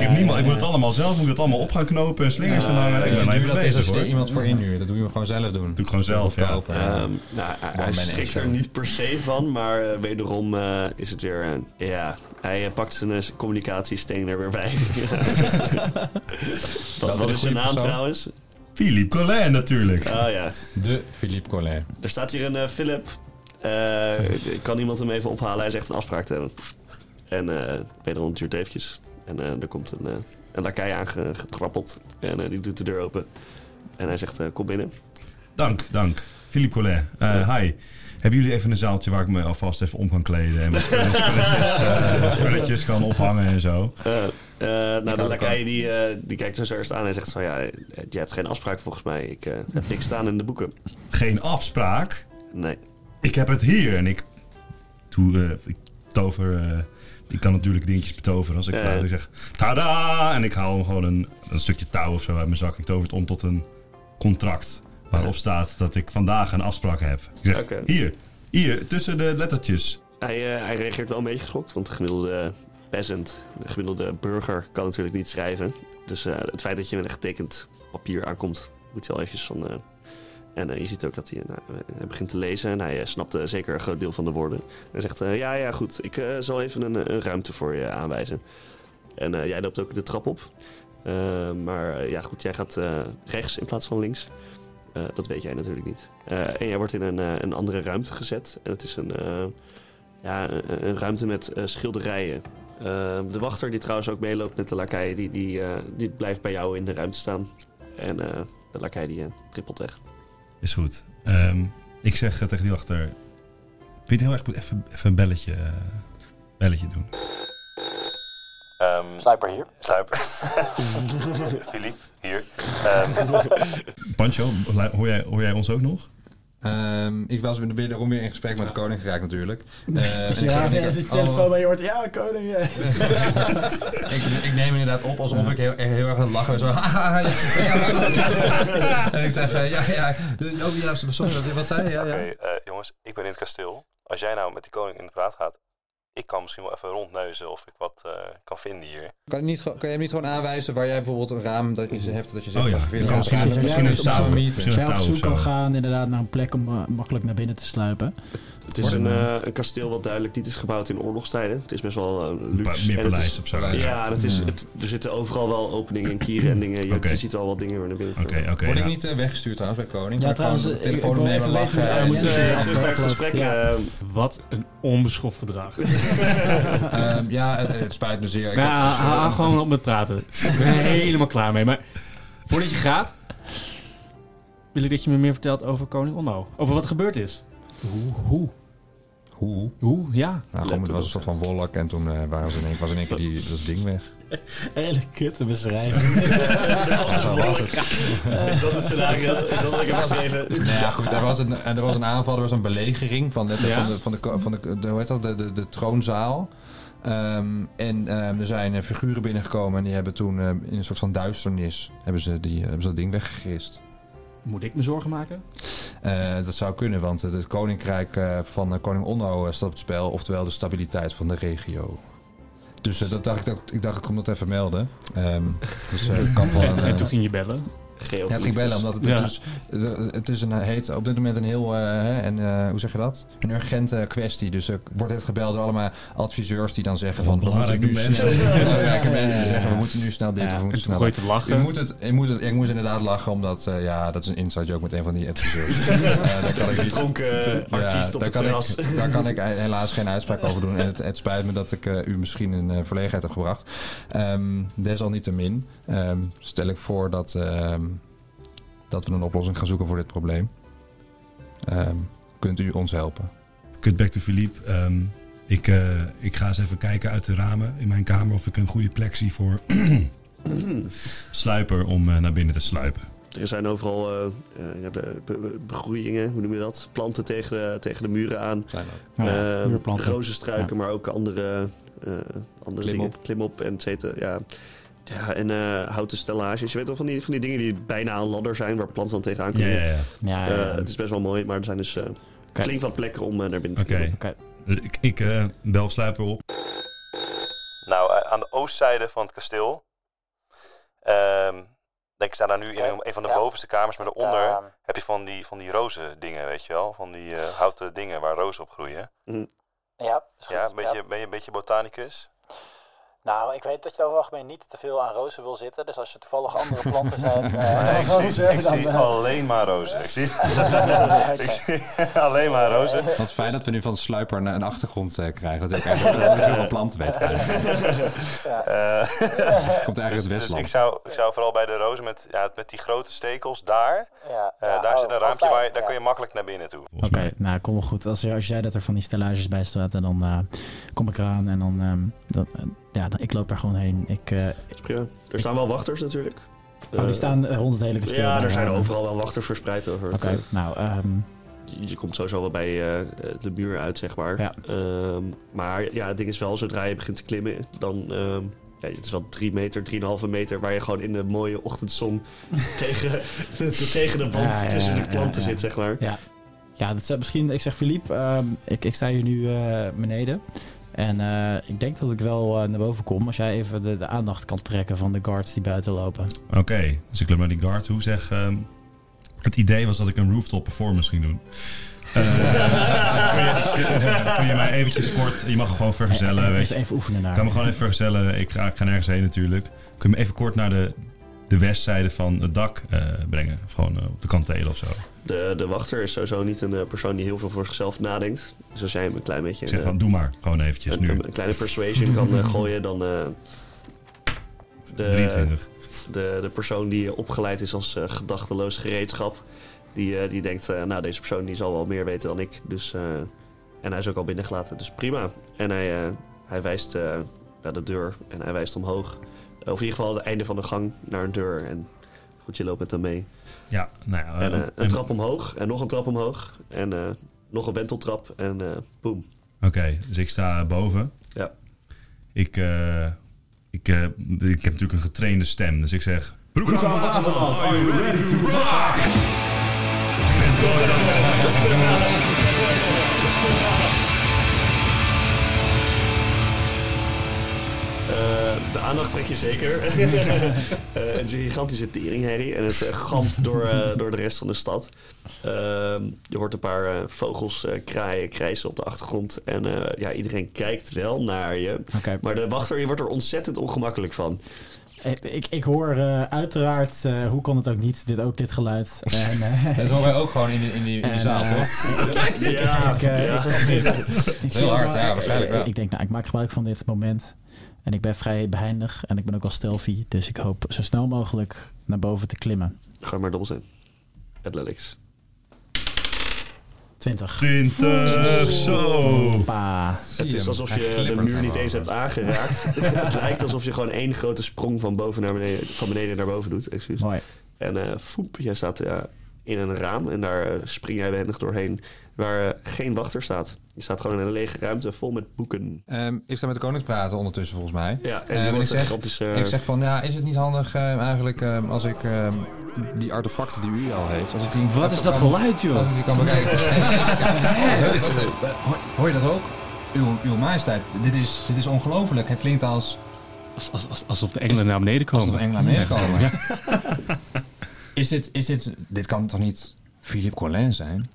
Speaker 3: heb niemand, ik moet het allemaal zelf, ik moet het allemaal op gaan knopen en slingers gaan hangen. Ik
Speaker 6: Ik
Speaker 3: ben
Speaker 6: doe
Speaker 3: even
Speaker 6: dat is
Speaker 3: bezig
Speaker 6: als
Speaker 3: hoor.
Speaker 6: er
Speaker 3: Dat
Speaker 6: iemand voor inhuurt. Dat doe je gewoon zelf doen.
Speaker 3: doe ik gewoon zelf, ja.
Speaker 6: Kopen, ja.
Speaker 7: Ehm, nou, hij- hij
Speaker 6: man
Speaker 7: schrikt
Speaker 6: action.
Speaker 7: er niet per se van, maar eh, wederom eh, is het weer een... Ja, hij eh, pakt zijn eh, communicatiesteen er weer
Speaker 6: (laughs)
Speaker 7: bij. Wat, wat
Speaker 6: een
Speaker 7: is zijn
Speaker 6: goede
Speaker 7: naam
Speaker 6: persoon.
Speaker 7: trouwens?
Speaker 3: Philippe Collin natuurlijk.
Speaker 7: Ah ja,
Speaker 6: De Philippe Collin.
Speaker 7: er staat hier een eh, Philip. Eh, kan iemand hem even ophalen? Hij is echt een afspraak te hebben. En eh wederom het duurt eventjes. En eh, er komt een, eh een lakai aangetrappeld. En eh, die doet de deur open. En hij zegt, eh, kom binnen.
Speaker 3: Dank, dank. Philippe Collin, eh, hi. Hebben jullie even een zaaltje waar ik me alvast even om kan kleden en wat spulletjes, eh, spulletjes kan ophangen en zo?
Speaker 7: Eh, eh, nou, de
Speaker 6: ook
Speaker 7: lakai die, eh, die kijkt ons eerst aan en zegt van... Ja, eh, je hebt geen afspraak volgens mij. Ik eh, heb niks staan in de boeken.
Speaker 3: Geen afspraak.
Speaker 7: Nee.
Speaker 3: Ik heb het hier en ik doe, eh, ik tover, eh, ik kan natuurlijk dingetjes betoveren als ik
Speaker 7: Ja.
Speaker 3: fluit. Ik zeg tada en ik haal gewoon een, een stukje touw of zo uit mijn zak. Ik tover het om tot een contract waarop staat dat ik vandaag een afspraak heb. Ik zeg
Speaker 7: Oké.
Speaker 3: hier, hier tussen de lettertjes.
Speaker 7: Hij, eh, hij reageert wel een beetje geschokt, want de gemiddelde peasant, de gemiddelde burger, kan natuurlijk niet schrijven. Dus eh, het feit dat je met een getekend papier aankomt, moet je wel eventjes van. eh, en eh, je ziet ook dat hij, eh, nou, eh, hij begint te lezen en hij eh, snapt eh, zeker een groot deel van de woorden. Hij zegt: eh, Ja, ja, goed, ik eh, zal even een, eh, een ruimte voor je aanwijzen. En eh, jij loopt ook de trap op. Eh, maar eh, ja, goed, jij gaat eh, rechts in plaats van links. Eh, dat weet jij natuurlijk niet. Eh, en jij wordt in een, eh, een andere ruimte gezet. En het is een, eh, ja, een, een ruimte met eh, schilderijen. Eh, de wachter die trouwens ook meeloopt met de lakai, die, die, eh, die blijft bij jou in de ruimte staan. En eh, de lakai die eh, trippelt weg.
Speaker 3: Is goed. Ehm, ik zeg eh, tegen die achter. Vind je het heel erg goed? Even, even een belletje, eh, belletje doen.
Speaker 1: Ehm
Speaker 2: Sniper hier.
Speaker 1: Sluiper. (laughs) Filip, hier.
Speaker 3: (laughs)
Speaker 1: Ehm,
Speaker 3: Pancho, lu- hoor jij, hoor jij ons ook nog?
Speaker 6: Ehm, ik was wederom weer in gesprek met de koning geraakt natuurlijk. Eh, en
Speaker 4: Ja,
Speaker 6: ik zeg
Speaker 4: ja,
Speaker 6: niet-
Speaker 4: die
Speaker 6: oh,
Speaker 4: telefoon bij je hoort, ja, koning. eh, ja.
Speaker 6: ik, ik neem inderdaad op alsof ik heel, heel erg aan het lachen ben. Zo, haha, ja, En ik zeg, eh, ja, ja, oh, ja, sorry, wat- wat zei je? Ja,
Speaker 1: Oké,
Speaker 6: ja.
Speaker 1: eh, jongens, ik ben in het kasteel. Als jij nou met die koning in de praat gaat, ik kan misschien wel even rondneuzen of ik wat eh, kan vinden hier.
Speaker 6: Kan, je niet, ge- kan je hem niet gewoon aanwijzen waar jij bijvoorbeeld een raam dat je hebt dat je zegt...
Speaker 3: Oh ja,
Speaker 6: "Wacht, weer
Speaker 3: dan
Speaker 6: een
Speaker 3: misschien-
Speaker 6: raam."
Speaker 4: misschien een
Speaker 6: op zo'n
Speaker 3: touw.
Speaker 6: meeting.
Speaker 3: Misschien
Speaker 4: Als
Speaker 3: een
Speaker 4: jij op
Speaker 3: touw of
Speaker 4: zoek kan
Speaker 3: zo.
Speaker 4: gaan inderdaad naar een plek om eh, makkelijk naar binnen te sluipen.
Speaker 7: Het is een, eh, een kasteel wat duidelijk niet is gebouwd in oorlogstijden. Het is best wel eh,
Speaker 3: Een paar-
Speaker 7: luxe.
Speaker 3: Meer
Speaker 7: en het
Speaker 3: paleis
Speaker 7: is,
Speaker 3: of zo.
Speaker 6: Ja.
Speaker 3: Oké,
Speaker 7: ja, en het is, het, er zitten overal wel openingen en kieren en dingen. Je,
Speaker 3: Oké.
Speaker 7: je ziet wel wat dingen weer naar binnen.
Speaker 3: oké.
Speaker 6: Word ik
Speaker 3: nou,
Speaker 6: niet eh, weggestuurd trouwens bij koning?
Speaker 4: Ja,
Speaker 6: Kan ik gewoon
Speaker 4: trouwens, eh,
Speaker 6: de
Speaker 4: ik- ik
Speaker 6: telefoon
Speaker 4: wil
Speaker 6: nemen,
Speaker 4: even weten
Speaker 6: lachen.
Speaker 4: hoe-
Speaker 6: en-
Speaker 4: Ja,
Speaker 7: We moeten
Speaker 4: ja, ja.
Speaker 7: eh, terug naar het gesprek.
Speaker 4: Ja.
Speaker 7: eh,
Speaker 5: Wat een onbeschoft gedrag.
Speaker 4: eh,
Speaker 6: Ehm, ja, het, het spijt me zeer. Ik
Speaker 5: Maar ja,
Speaker 6: heb-
Speaker 5: hou hou gewoon op met praten. (laughs) Ik ben er helemaal klaar mee. Maar voordat je gaat, wil ik dat je me meer vertelt over koning Onno. Over wat er gebeurd is. Hoe? hoe?
Speaker 6: Hoe?
Speaker 5: Hoe? Ja.
Speaker 6: Nou, gewoon, het was een soort van wolk en toen eh, waren ze in één, was in één keer die, dat ding weg.
Speaker 4: Hele kutte
Speaker 2: (laughs)
Speaker 4: beschrijving.
Speaker 7: eh,
Speaker 10: Is dat het scenario? Is dat wat ik heb geschreven?
Speaker 6: Nou ja, goed, er was, een, er was een aanval, er was een belegering van, letterlijk
Speaker 10: Ja?
Speaker 6: van, de, van, de, ko- van de, de, hoe heet dat, de, de, de troonzaal. Ehm, en ehm, er zijn eh, figuren binnengekomen en die hebben toen ehm, in een soort van duisternis hebben ze, die, eh, hebben ze dat ding weggegrist.
Speaker 5: Moet ik me zorgen maken?
Speaker 6: Eh, dat zou kunnen, want eh, het koninkrijk eh, van eh, koning Onno eh, staat op het spel, oftewel de stabiliteit van de regio. Dus eh, dat dacht ik, ook- ik dacht ik kom dat even melden. Ehm, dus eh, kan
Speaker 5: (laughs)
Speaker 6: wel een,
Speaker 5: En
Speaker 6: eh,
Speaker 5: toen ging je bellen.
Speaker 6: ja, het ging
Speaker 7: (laughs)
Speaker 6: bellen, omdat het,
Speaker 5: Ja.
Speaker 6: het is, het is een, heet, op dit moment een heel, eh, hè, en, eh, hoe zeg je dat? Een urgente kwestie. Dus er wordt het gebeld door allemaal adviseurs die dan zeggen van... we moeten
Speaker 3: Belangrijke
Speaker 6: nu
Speaker 3: mensen.
Speaker 6: snel- (laughs) Belangrijke
Speaker 4: Ja, ja, ja,
Speaker 6: mensen die
Speaker 4: ja.
Speaker 6: zeggen, we moeten nu snel dit
Speaker 4: Ja,
Speaker 6: of we
Speaker 4: en
Speaker 5: En
Speaker 6: moeten
Speaker 5: toen
Speaker 6: snel
Speaker 5: gooi je
Speaker 6: dat.
Speaker 5: te
Speaker 6: Je
Speaker 5: lachen.
Speaker 6: moet het, je moet het, ik moest inderdaad lachen, omdat eh, ja, dat is een inside joke met een van die adviseurs.
Speaker 7: (laughs)
Speaker 6: Eh, daar kan ik
Speaker 10: De
Speaker 6: niet-
Speaker 10: dronken
Speaker 6: ja,
Speaker 10: artiest op
Speaker 6: daar
Speaker 10: het
Speaker 6: kan ik-
Speaker 10: terras.
Speaker 6: daar kan
Speaker 10: (laughs)
Speaker 6: ik helaas geen uitspraak over doen. En het, het spijt me dat ik eh, u misschien in eh, verlegenheid heb gebracht. Ehm, desalniettemin ehm, stel ik voor dat, ehm, dat we een oplossing gaan zoeken voor dit probleem. Ehm, kunt u ons helpen?
Speaker 3: Kut back to Philippe. Ehm, ik, eh, ik ga eens even kijken uit de ramen in mijn kamer of ik een goede plek zie voor sluiper om eh, naar binnen te sluipen.
Speaker 7: Er zijn overal eh, eh, ja, be- be- be- begroeiingen, hoe noem je dat? Planten tegen de, tegen de muren aan.
Speaker 6: Zijn we.
Speaker 7: Eh,
Speaker 10: muurplanten.
Speaker 7: rozenstruiken, maar ook andere, eh andere
Speaker 6: Klimop.
Speaker 7: dingen. Klimop en et cetera, ja. Ja, en eh, houten stellages. Je weet wel van die, van die dingen die bijna een ladder zijn, waar planten dan tegenaan
Speaker 3: Ja,
Speaker 7: kunnen.
Speaker 3: ja, ja.
Speaker 4: Ja,
Speaker 7: Eh,
Speaker 4: ja.
Speaker 7: het is best wel mooi, maar er zijn dus eh flink wat plekken om eh, naar binnen te
Speaker 3: Oké.
Speaker 7: klimmen.
Speaker 4: Oké.
Speaker 3: Dus Ik, ik eh, bel sluiper op.
Speaker 1: Nou, eh, aan de oostzijde van het kasteel. Ehm ik sta daar nu in een, een van de
Speaker 2: Ja.
Speaker 1: bovenste kamers, maar daaronder
Speaker 2: Ehm,
Speaker 1: heb je van die, van die rozen dingen, weet je wel? Van die eh, houten dingen waar rozen op groeien.
Speaker 2: ja, is goed.
Speaker 1: Ja, een beetje,
Speaker 2: Ja.
Speaker 1: ben je een beetje botanicus?
Speaker 2: Nou, ik weet dat je over het algemeen niet te veel aan rozen wil zitten. Dus als er toevallig
Speaker 1: (laughs)
Speaker 2: andere planten zijn... eh,
Speaker 1: Nee, (laughs) ik
Speaker 2: dan
Speaker 1: zie,
Speaker 2: rozen,
Speaker 1: ik
Speaker 2: dan,
Speaker 1: zie oh.
Speaker 2: eh,
Speaker 1: alleen maar rozen. Ik
Speaker 2: (laughs)
Speaker 1: zie, (laughs) ik zie alleen maar rozen.
Speaker 6: Wat fijn dat we nu van sluiper naar een achtergrond eh, krijgen. Dat ik (laughs) eigenlijk wel heel veel van planten weet. eigenlijk.
Speaker 2: (laughs)
Speaker 1: Eh,
Speaker 6: Komt eigenlijk uit
Speaker 1: dus ik
Speaker 6: Westland.
Speaker 1: zou, ik zou vooral bij de rozen met, ja, met die grote stekels daar.
Speaker 2: ja,
Speaker 1: eh,
Speaker 2: ja,
Speaker 1: daar
Speaker 2: oh,
Speaker 1: zit een
Speaker 2: oh,
Speaker 1: raampje
Speaker 2: fijn,
Speaker 1: waar je- daar
Speaker 2: ja.
Speaker 1: kun je makkelijk naar binnen toe.
Speaker 3: Volgens
Speaker 4: Oké,
Speaker 3: mij.
Speaker 4: nou kom wel goed. Als, als jij dat er van die stellages bij staat, en dan eh, kom ik eraan en dan, ehm, dan eh, ja, dan, ik loop er gewoon heen. Ik, eh,
Speaker 7: Dat is prima. Er staan wel wachters natuurlijk.
Speaker 4: oh, die staan eh, rond het hele kasteel.
Speaker 7: ja,
Speaker 4: bij
Speaker 7: er zijn
Speaker 4: elkaar.
Speaker 7: overal wel wachters verspreid over. het,
Speaker 4: Oké,
Speaker 7: eh,
Speaker 4: nou, ehm,
Speaker 7: je, je komt sowieso wel bij eh, de muur uit, zeg maar.
Speaker 4: Ja.
Speaker 7: Ehm, maar ja, het ding is wel, zodra je begint te klimmen, dan... ehm, ja, het is wel drie meter, 3,5 meter, waar je gewoon in de mooie ochtendzon (laughs) tegen, de, tegen de wand
Speaker 4: Ja, ja,
Speaker 7: tussen
Speaker 4: ja,
Speaker 7: de planten
Speaker 4: ja, ja.
Speaker 7: zit, zeg maar.
Speaker 4: ja, dat zou misschien, ik zeg Philippe, ehm, ik, ik sta hier nu eh, beneden. En eh, ik denk dat ik wel eh, naar boven kom als jij even de, de aandacht kan trekken van de guards die buiten lopen.
Speaker 3: Oké, dus ik loop naar die guard toe. Zeg, ehm, het idee was dat ik een rooftop performance ging doen. Eh, (laughs) kun, je, kun- kun je mij eventjes kort... Je mag gewoon vergezellen,
Speaker 4: Eh,
Speaker 3: weet je.
Speaker 4: even, even oefenen
Speaker 3: Ik
Speaker 4: naar.
Speaker 3: kan me gewoon even vergezellen. Ik ga, ik ga nergens heen natuurlijk. Kun je me even kort naar de, de westzijde van het dak eh, brengen? Of gewoon eh, op de kantelen of zo.
Speaker 7: De, de wachter is sowieso niet een eh, persoon die heel veel voor zichzelf nadenkt. Dus als jij hem een klein beetje
Speaker 3: Ik
Speaker 7: een,
Speaker 3: zeg
Speaker 7: eh,
Speaker 3: van, doe maar. Gewoon eventjes,
Speaker 7: een,
Speaker 6: Eh,
Speaker 3: nu.
Speaker 7: een- een kleine persuasion kan
Speaker 4: (laughs)
Speaker 7: eh, gooien, dan... eh, de-
Speaker 3: 23.
Speaker 7: De, de persoon die eh, opgeleid is als eh, gedachteloos gereedschap. Die, eh, die denkt, eh, nou deze persoon die zal wel meer weten dan ik. Dus, eh, en hij is ook al binnengelaten, dus prima. En hij, eh, hij wijst eh, naar de deur en hij wijst omhoog. Eh, Of in ieder geval het einde van de gang naar een deur. En goed, je loopt met hem mee.
Speaker 3: Ja, nou ja.
Speaker 7: en, eh,
Speaker 3: eh,
Speaker 7: een
Speaker 3: en-
Speaker 7: trap omhoog en nog een trap omhoog. En eh, nog een wenteltrap en eh boem.
Speaker 3: Oké, dus ik sta boven.
Speaker 7: Ja.
Speaker 3: Ik, eh, ik, eh, ik heb natuurlijk een getrainde stem, dus ik zeg... Broek aan Waterland, are you ready to rock?
Speaker 7: Eh, de aandacht trek je zeker. Eh, het is een gigantische teringherrie en het eh, gamt door, eh, door de rest van de stad. Ehm, je hoort een paar eh, vogels eh, kraaien, krijsen op de achtergrond. En eh, ja, iedereen kijkt wel naar je.
Speaker 4: Oké.
Speaker 7: Maar de wachter je wordt er ontzettend ongemakkelijk van.
Speaker 4: Ik, ik, ik hoor eh, uiteraard, eh, hoe kon het ook niet, dit, ook dit
Speaker 3: (laughs)
Speaker 4: geluid. En, eh,
Speaker 6: Dat horen wij ook gewoon in die, in die, in die
Speaker 4: En,
Speaker 6: zaal,
Speaker 4: eh,
Speaker 6: toch?
Speaker 7: Ja,
Speaker 4: Ik, eh,
Speaker 7: ja.
Speaker 4: ik- ik-
Speaker 6: Heel hard, ja, waarschijnlijk wel.
Speaker 4: Ik denk, nou, ik maak gebruik van dit moment. En ik ben vrij behendig en ik ben ook al stealthy. Dus ik hoop zo snel mogelijk naar boven te klimmen.
Speaker 7: Ga maar dol zijn. Athletics.
Speaker 4: 20.
Speaker 3: 20, zo.
Speaker 4: Pa.
Speaker 7: Het is alsof
Speaker 6: Hij
Speaker 7: je de
Speaker 6: glippert
Speaker 7: muur niet
Speaker 6: gewoon
Speaker 7: eens hebt aangeraakt. het lijkt alsof je gewoon één grote sprong van, boven naar beneden, van beneden naar boven doet. Excuus.
Speaker 4: Mooi.
Speaker 7: En eh foep, jij staat eh, in een raam en daar eh, spring jij behendig doorheen waar eh, geen wachter staat. Je staat gewoon in een lege ruimte vol met boeken.
Speaker 6: Ehm, ik sta met de koning te praten ondertussen volgens mij.
Speaker 7: Ja, en
Speaker 6: Eh, wat
Speaker 7: die
Speaker 6: ik
Speaker 7: wordt een
Speaker 6: zeg-
Speaker 7: gigantische...
Speaker 6: Ik zeg van, ja, is het niet handig eh, eigenlijk ehm, als ik ehm, die artefacten die u al heeft... Als ik die,
Speaker 5: Wat
Speaker 6: als
Speaker 5: is
Speaker 6: ik
Speaker 5: dat
Speaker 6: kan-
Speaker 5: geluid,
Speaker 6: Als
Speaker 5: joh?
Speaker 6: ik die kan bekijken.
Speaker 5: (laughs)
Speaker 6: Hey, wat, eh, hoor- Hoor je dat ook? Uw, uw majesteit, dit is, dit is ongelooflijk. Het klinkt als
Speaker 5: Als, als, als, alsof de engelen naar beneden
Speaker 6: als we
Speaker 5: komen.
Speaker 6: Engeland neerkomen. (laughs) Is dit, is dit, dit kan toch niet Philippe Collin zijn?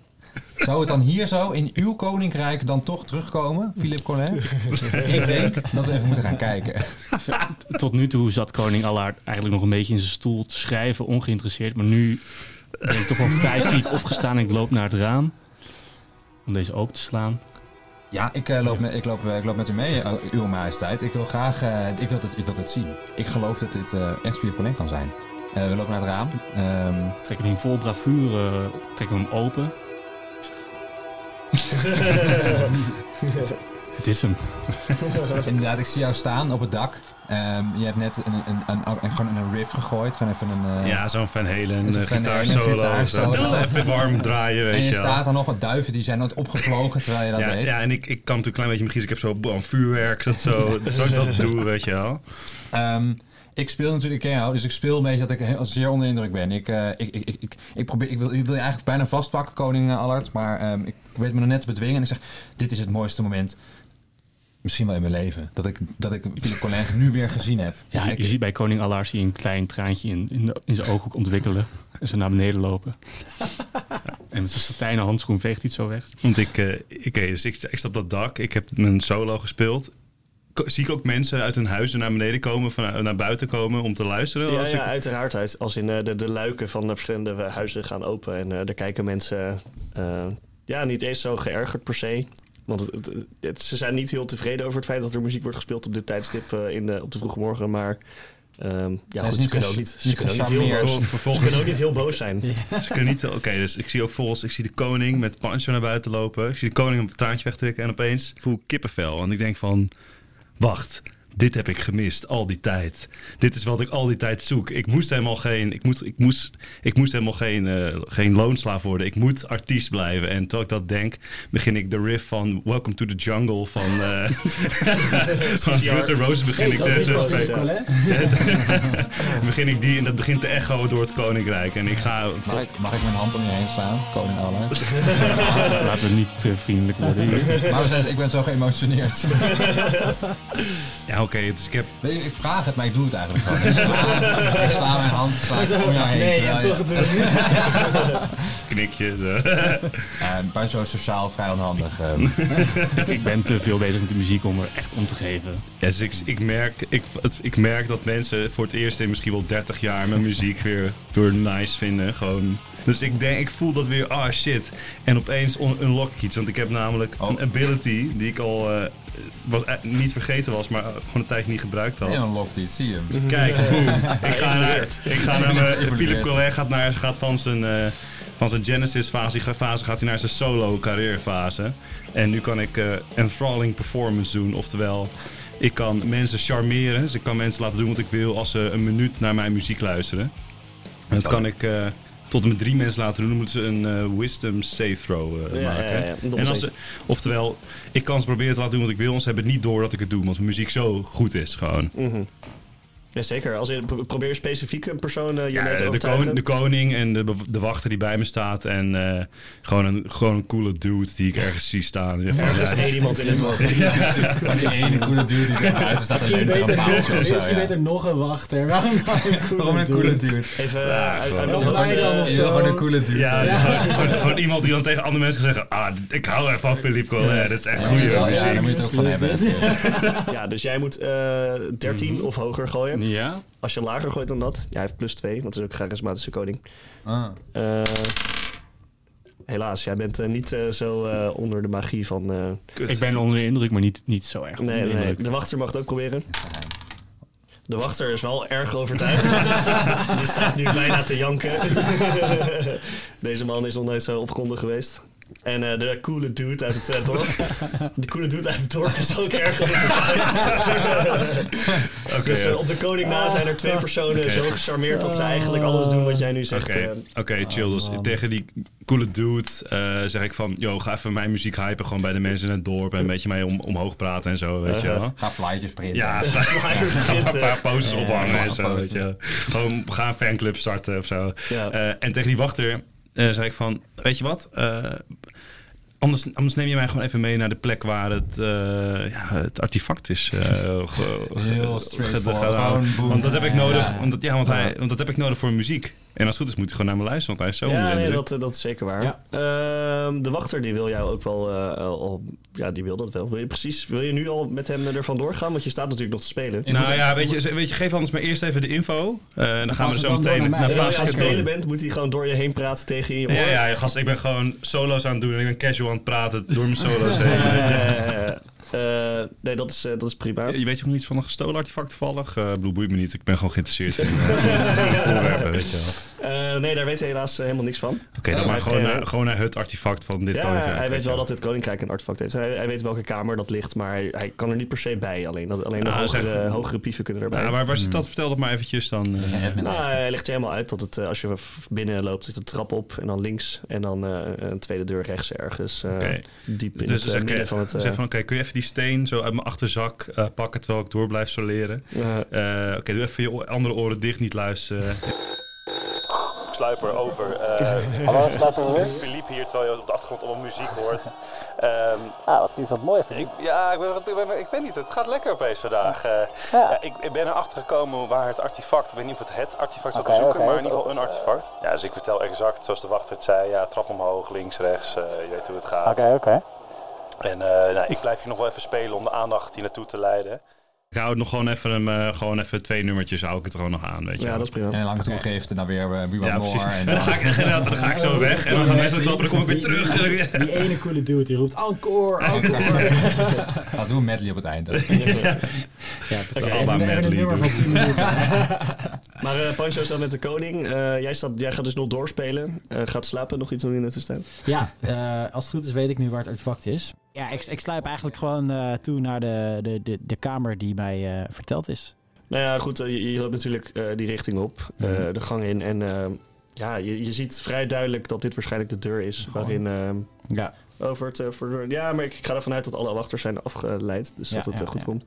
Speaker 6: Zou het dan hier zo in uw koninkrijk dan toch terugkomen, Philippe (laughs) Collin? ik denk dat we even moeten gaan kijken.
Speaker 5: Tot nu toe zat koning Allard eigenlijk nog een beetje in zijn stoel te schrijven, ongeïnteresseerd. Maar nu ben ik toch (laughs) wel vrij piek opgestaan en ik loop naar het raam. Om deze open te slaan.
Speaker 6: Ja, ik, eh, loop, met, ik, loop, eh, ik loop met u mee, eh, uw majesteit. Ik wil graag, eh, ik, wil dit, ik wil dit zien. Ik geloof dat dit eh, echt Philippe Collin kan zijn. Eh, we lopen naar het raam. Ehm, (laughs)
Speaker 5: Trekken hem vol bravure, eh, trekken we hem (laughs) open. het, het is hem.
Speaker 6: Inderdaad, ik zie jou staan op het dak. Ehm, je hebt net een, een, een, een- gewoon een riff gegooid. Gewoon even een... eh,
Speaker 3: Ja, zo'n Van Halen
Speaker 6: Even
Speaker 3: eh,
Speaker 6: Van Halen,
Speaker 3: gitaarsolo. zo.
Speaker 6: gitaarsolo.
Speaker 3: Even warm draaien, weet
Speaker 6: en je
Speaker 3: je wel.
Speaker 6: staat dan nog wat duiven die zijn nooit opgevlogen terwijl
Speaker 5: (laughs)
Speaker 6: je dat
Speaker 3: Ja,
Speaker 6: deed.
Speaker 3: ja, en ik, ik kan natuurlijk een klein beetje me kiezen. Ik heb zo bam, vuurwerk, dat
Speaker 7: (laughs)
Speaker 3: zo. dat ik dat doe, weet je wel.
Speaker 6: Ehm, ik speel natuurlijk Kenhout, dus ik speel een beetje dat ik heel, zeer onder de indruk ben. Ik, eh, ik, ik, ik, ik, ik probeer, ik, wil, ik wil je eigenlijk bijna vastpakken, koning eh, Allard. Maar ehm, ik weet me nog net te bedwingen en ik zeg, dit is het mooiste moment. Misschien wel in mijn leven. Dat ik, dat ik Philip Collin nu weer gezien heb. Dus
Speaker 5: Ja, je ziet bij koning Allard zie je een klein traantje in, in, de- in zijn ooghoek ontwikkelen. En zo naar beneden lopen. en met zijn satijnen handschoen veegt hij het zo weg.
Speaker 3: Want ik, eh oké, dus ik, ik sta op dat dak. Ik heb mijn solo gespeeld. Ko- zie ik ook mensen uit hun huizen naar beneden komen, van, eh, naar buiten komen om te luisteren?
Speaker 7: Ja,
Speaker 3: als
Speaker 7: ja,
Speaker 3: ik,
Speaker 7: uiteraard. uit- Als in eh, de, de luiken van de verschillende eh, huizen gaan open. En eh, daar kijken mensen eh, ja, niet eens zo geërgerd per se. Want het, het- het- ze zijn niet heel tevreden over het feit dat er muziek wordt gespeeld op dit tijdstip eh, in de, op de vroege morgen. Maar ehm, ja,
Speaker 6: is
Speaker 7: goed, ze
Speaker 6: niet
Speaker 7: kunnen
Speaker 6: ges-
Speaker 7: ook niet, ze
Speaker 6: niet
Speaker 7: kunnen ook niet, heel,
Speaker 6: gecharmeerd.
Speaker 7: boos- ze kunnen ook niet heel boos zijn.
Speaker 3: Ze kunnen niet. Oké, dus ik zie ook volgens. Ik zie de koning met Pancho naar buiten lopen. Ik zie de koning een traantje wegtrekken. En opeens voel ik kippenvel. En ik denk van. Wacht. Dit heb ik gemist al die tijd. Dit is wat ik al die tijd zoek. Ik moest helemaal geen, ik moest, ik moest, ik moest helemaal geen, eh, geen loonslaaf worden. Ik moet artiest blijven. En terwijl ik dat denk, begin ik de riff van Welcome to the Jungle van, eh
Speaker 2: (laughs)
Speaker 3: van Guns N' Roses begin ik
Speaker 2: dat
Speaker 3: te
Speaker 2: is
Speaker 3: te
Speaker 2: wel
Speaker 3: spelen.
Speaker 2: zo.
Speaker 3: Begin ik die en dat begint te echo door het koninkrijk. En ik ga
Speaker 6: Mag ik, mag ik mijn hand om je heen slaan, koning Allard?
Speaker 5: (laughs) Laten we niet te vriendelijk worden hier.
Speaker 6: Maar we zijn, ik ben zo geëmotioneerd.
Speaker 3: Ja, oké, dus ik heb
Speaker 6: Weet je, ik vraag het, maar ik doe het eigenlijk gewoon. Ik sla, (laughs) ik sla mijn hand, sla ik om jou heen.
Speaker 2: Nee,
Speaker 6: terwijl
Speaker 2: en
Speaker 6: je-
Speaker 2: toch het niet.
Speaker 3: knikjes.
Speaker 6: Eh, maar zo sociaal vrij onhandig. eh.
Speaker 5: Dus Ik ben te veel bezig met de muziek om er echt om te geven.
Speaker 3: (laughs) Ja, dus ik, ik, merk, ik, het- ik merk dat mensen voor het eerst in misschien wel 30 jaar mijn muziek weer, weer nice vinden. Gewoon. Dus ik denk, ik voel dat weer, ah shit. En opeens on- unlock ik iets, want ik heb namelijk
Speaker 7: Oh.
Speaker 3: een ability die ik al eh, wat, eh, niet vergeten was, maar eh, gewoon een tijdje niet gebruikt had.
Speaker 6: En dan lokt iets, zie je hem.
Speaker 7: dus,
Speaker 3: Kijk,
Speaker 7: eh, (laughs)
Speaker 3: boem. Ik ga naar, ik ga naar mijn,
Speaker 6: Evolueerd.
Speaker 3: eh, Philip Collet gaat, naar, gaat van zijn, eh, van zijn Genesis-fase die gaat- fase gaat hij naar zijn solo-carrière-fase. En nu kan ik eh enthralling performance doen, oftewel... Ik kan mensen charmeren, dus ik kan mensen laten doen wat ik wil als ze een minuut naar mijn muziek luisteren. En dat kan ik eh, tot en met drie mensen laten doen, dan moeten ze een eh, wisdom save throw eh,
Speaker 7: Ja,
Speaker 3: maken.
Speaker 7: ja, ja, ja.
Speaker 3: En als ze, oftewel, ik kan ze proberen te laten doen wat ik wil, want ze hebben het niet door dat ik het doe, want mijn muziek zo goed is gewoon.
Speaker 7: Mhm. Ja, zeker. Als je, pro- probeer specifiek een persoon eh, je
Speaker 3: Ja,
Speaker 7: net te
Speaker 3: de,
Speaker 7: overtuigen.
Speaker 3: koning, de koning en de, bew- de wachter die bij me staat. En eh, gewoon, een, gewoon een coole dude die ik ergens zie staan. Ja,
Speaker 7: Ergens
Speaker 3: ja,
Speaker 7: één iemand in het
Speaker 6: Maar die ene coole dude die er buiten staat, die
Speaker 4: Misschien
Speaker 6: leunt er een
Speaker 4: beter, nog,
Speaker 6: paaltje of zo.
Speaker 4: misschien
Speaker 6: ja.
Speaker 4: beter nog een
Speaker 6: (laughs)
Speaker 4: wachter. Waarom nou een coole
Speaker 6: Waarom een coole
Speaker 4: dude?
Speaker 6: dude?
Speaker 7: Even eh,
Speaker 3: Ja,
Speaker 7: uit-
Speaker 3: gewoon.
Speaker 7: uit mijn
Speaker 4: Waarom
Speaker 7: hoofd,
Speaker 4: wij dan
Speaker 7: eh,
Speaker 4: of
Speaker 6: Ja,
Speaker 4: zo?
Speaker 6: gewoon een coole dude.
Speaker 3: ja,
Speaker 6: hè.
Speaker 3: Gewoon, gewoon iemand die dan tegen andere mensen gaat zeggen... Ah, dit- ik hou erg van Philippe Collet. Dat is echt
Speaker 6: Ja,
Speaker 3: goede
Speaker 6: ja,
Speaker 3: muziek.
Speaker 6: ja, daar moet je het ook van hebben.
Speaker 7: Ja, dus jij moet eh 13
Speaker 3: Mhm.
Speaker 7: of hoger gooien.
Speaker 5: Ja?
Speaker 7: Als je lager gooit dan dat, ja, hij heeft plus 2, want hij is ook een charismatische koning.
Speaker 6: Ah.
Speaker 7: Eh, helaas, jij bent eh, niet eh, zo eh, onder de magie van. eh,
Speaker 5: Ik ben onder de indruk, maar niet, niet zo erg onder
Speaker 7: nee,
Speaker 5: de
Speaker 7: nee, nee,
Speaker 5: indruk.
Speaker 7: de wachter mag het ook proberen. De wachter is wel erg
Speaker 3: (laughs)
Speaker 7: overtuigd. (laughs) Die staat nu bijna te janken. Deze man is nog nooit zo opgekonden geweest. En eh, de coole dude uit het eh, dorp. die coole dude uit het dorp is ook erg overtuigd. dus eh, op de koning na zijn er twee personen
Speaker 3: Ah, Oké. Ah.
Speaker 7: zo gecharmeerd dat ze eigenlijk alles doen wat jij nu zegt.
Speaker 3: Oké,
Speaker 7: eh,
Speaker 3: oké, chill. Dus tegen die coole dude eh, zeg ik van... Yo, ga even mijn muziek hypen gewoon bij de mensen in het dorp. En een beetje mee om, omhoog praten en zo, weet je wel.
Speaker 6: Ga flyertjes printen.
Speaker 3: (laughs) Ja,
Speaker 6: Ja.
Speaker 3: ga (laughs) een
Speaker 7: eh,
Speaker 3: paar posters
Speaker 6: Ja,
Speaker 3: ophangen
Speaker 6: ja,
Speaker 3: en zo.
Speaker 6: posters.
Speaker 3: Weet je. wel. Gewoon ga een fanclub starten of zo.
Speaker 7: Ja.
Speaker 3: Eh, en tegen die wachter eh, zei ik van, weet je wat? Eh, anders, anders neem je mij gewoon even mee naar de plek waar het, eh, ja, het artefact is.
Speaker 6: (laughs)
Speaker 3: eh, ge-
Speaker 6: Heel
Speaker 3: ge-
Speaker 6: straightforward.
Speaker 3: gedaan.
Speaker 6: Gewoon boem.
Speaker 3: Want dat heb ik
Speaker 6: Ja,
Speaker 3: nodig,
Speaker 6: ja.
Speaker 3: Want, dat, ja, want, hij, want dat heb ik nodig voor muziek. En als het goed is moet hij gewoon naar me luisteren, want hij is zo
Speaker 7: ja,
Speaker 3: onder de
Speaker 7: nee,
Speaker 3: indruk.
Speaker 7: dat, eh, dat is zeker waar.
Speaker 6: Ja.
Speaker 7: Ehm, de wachter die wil jou ook wel, eh, al- al- ja, die wil dat wel. Wil je precies, wil je nu al met hem er vandoor gaan? Want je staat natuurlijk nog te spelen.
Speaker 3: Nou ja, weet je, weet je, geef anders maar eerst even de info. Eh, dan gaan we er
Speaker 6: het
Speaker 3: zo
Speaker 6: dan door
Speaker 3: meteen
Speaker 6: naar mij.
Speaker 3: naar
Speaker 7: Terwijl je aan het
Speaker 3: Pasen-
Speaker 7: spelen bent, moet hij gewoon door je heen praten tegen je in je
Speaker 3: Ja,
Speaker 7: oor.
Speaker 3: ja, ja, gast, ik ben gewoon solo's aan het doen en ik ben casual aan het praten door mijn solo's heen.
Speaker 7: Ja, ja, ja, ja, ja. Eh, nee, dat is, eh, dat is prima.
Speaker 3: Je weet je nog iets van een gestolen artefact toevallig? Eh, ik bedoel, boeit me niet, ik ben gewoon geïnteresseerd in (laughs) eh, voorwerpen, weet je wel. Oké,
Speaker 7: Eh, nee, daar weet hij helaas eh, helemaal niks
Speaker 3: dan
Speaker 7: van. Oh,
Speaker 3: maar
Speaker 7: hij
Speaker 3: gewoon,
Speaker 7: heeft geen-
Speaker 3: naar, gewoon naar het eh, artefact van dit
Speaker 7: Ja,
Speaker 3: koninkrijk,
Speaker 7: hij weet wel
Speaker 3: je
Speaker 7: dat dit koninkrijk een artefact heeft. Hij, hij weet welke kamer dat ligt, maar hij, hij kan er niet per se bij. Alleen, dat- alleen de
Speaker 3: Ah, zeg-
Speaker 7: hogere, hogere pieven kunnen erbij.
Speaker 3: Ja, waar, waar zit dat? Vertel dat maar eventjes dan. eh.
Speaker 6: En het met
Speaker 7: Nou,
Speaker 6: lichten.
Speaker 7: hij legt je helemaal uit dat het, eh, als je v- binnen loopt, is de trap op en dan links en dan eh, een tweede deur rechts ergens. eh,
Speaker 3: Oké.
Speaker 7: Diep in
Speaker 3: Dus
Speaker 7: het
Speaker 3: zeg,
Speaker 7: eh, midden
Speaker 3: oké,
Speaker 7: van het. eh,
Speaker 3: zeg van, oké, kun je even die steen zo uit mijn achterzak eh, pakken terwijl ik door blijf soleren?
Speaker 7: eh,
Speaker 3: Eh, oké, doe even je o- andere oren dicht, niet luisteren.
Speaker 1: Sluiper over. eh (laughs)
Speaker 2: Hallo, staat er weer?
Speaker 1: Philippe hier, terwijl je op de achtergrond allemaal muziek
Speaker 2: (laughs)
Speaker 1: hoort. Ehm,
Speaker 2: Ah, wat klinkt dat mooi, vind
Speaker 1: ik,
Speaker 2: ik.
Speaker 1: ja, ik, ben, ik, ben- ik weet niet, het gaat lekker opeens vandaag. Eh,
Speaker 2: Ja.
Speaker 1: ja, ik, ik ben erachter gekomen waar het artefact, ik weet niet of het het artefact zat
Speaker 2: Oké,
Speaker 1: te zoeken,
Speaker 2: oké.
Speaker 1: maar in ieder geval een artefact. Ja, dus ik vertel exact zoals de wachter het zei, ja, trap omhoog, links, rechts, eh, je weet hoe het gaat.
Speaker 2: Oké, oké.
Speaker 1: En eh, nou, ik blijf hier nog wel even spelen om de aandacht hier naartoe te leiden.
Speaker 3: Ik hou het nog gewoon even, hem, eh, gewoon even twee nummertjes, hou ik het er gewoon nog aan, weet je
Speaker 7: ja,
Speaker 3: wel.
Speaker 7: dat is prima.
Speaker 6: En lang toegeeft en dan weer eh, Wie
Speaker 3: Ja,
Speaker 6: Wat More.
Speaker 3: precies.
Speaker 6: En
Speaker 3: En dan ga ik, inderdaad, dan ga ik zo weg en dan gaan mensen het lopen en dan kom ik weer terug.
Speaker 4: Die, die, die ene coole dude die roept encore, encore.
Speaker 6: dan doen we medley op het eind.
Speaker 3: (laughs)
Speaker 4: Ja, precies.
Speaker 3: Oké,
Speaker 4: Even-
Speaker 3: Abba
Speaker 4: even een
Speaker 3: medley
Speaker 4: nummer
Speaker 3: doen.
Speaker 4: van
Speaker 6: (laughs)
Speaker 4: 10 minuten.
Speaker 7: Maar eh, Pancho staat met de koning. Eh, jij, staat, jij gaat dus nog doorspelen. Eh, gaat slapen, nog iets doen in de tussentijd?
Speaker 4: Ja, eh, als het goed is weet ik nu waar het artefact is. Ja, ik, ik sluip eigenlijk gewoon eh, toe naar de, de, de, de kamer die mij eh, verteld is.
Speaker 7: Nou ja, goed, eh, je, je loopt natuurlijk eh, die richting op, eh,
Speaker 4: Mhm.
Speaker 7: de gang in. En eh, ja, je, je ziet vrij duidelijk dat dit waarschijnlijk de deur is waarin... eh,
Speaker 4: Ja.
Speaker 7: over het... eh, voor- ja, maar ik, ik ga ervan uit dat alle wachters zijn afgeleid. Dus
Speaker 4: Ja,
Speaker 7: dat het
Speaker 4: ja,
Speaker 7: eh, goed
Speaker 4: ja.
Speaker 7: komt.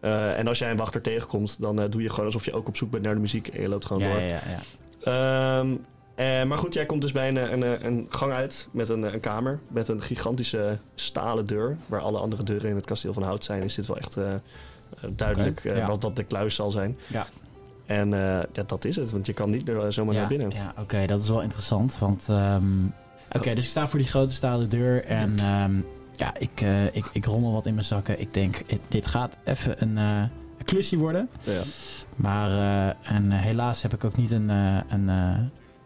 Speaker 7: Eh, en als jij een wachter tegenkomt, dan eh, doe je gewoon alsof je ook op zoek bent naar de muziek. En je loopt gewoon
Speaker 4: Ja, ja,
Speaker 7: door.
Speaker 4: ja, ja.
Speaker 7: Ehm, eh, maar goed, jij komt dus bij een, eh, een, eh, een gang uit met een, eh, een kamer. Met een gigantische stalen deur. Waar alle andere deuren in het kasteel van hout zijn. Is dit wel echt eh, eh, duidelijk
Speaker 4: Oké,
Speaker 7: eh,
Speaker 4: ja.
Speaker 7: wat dat de kluis zal zijn.
Speaker 4: Ja.
Speaker 7: En eh, ja, dat is het, want je kan niet er, eh, zomaar
Speaker 4: ja,
Speaker 7: naar binnen.
Speaker 4: Ja, oké, dat is wel interessant. Want, ehm, oké, dus ik sta voor die grote stalen deur en ehm, ja, ik, eh, ik, ik rommel wat in mijn zakken. Ik denk, eh, dit gaat even een, eh, een klusje worden.
Speaker 7: Ja.
Speaker 4: Maar eh, en, eh, helaas heb ik ook niet een, eh, een, eh,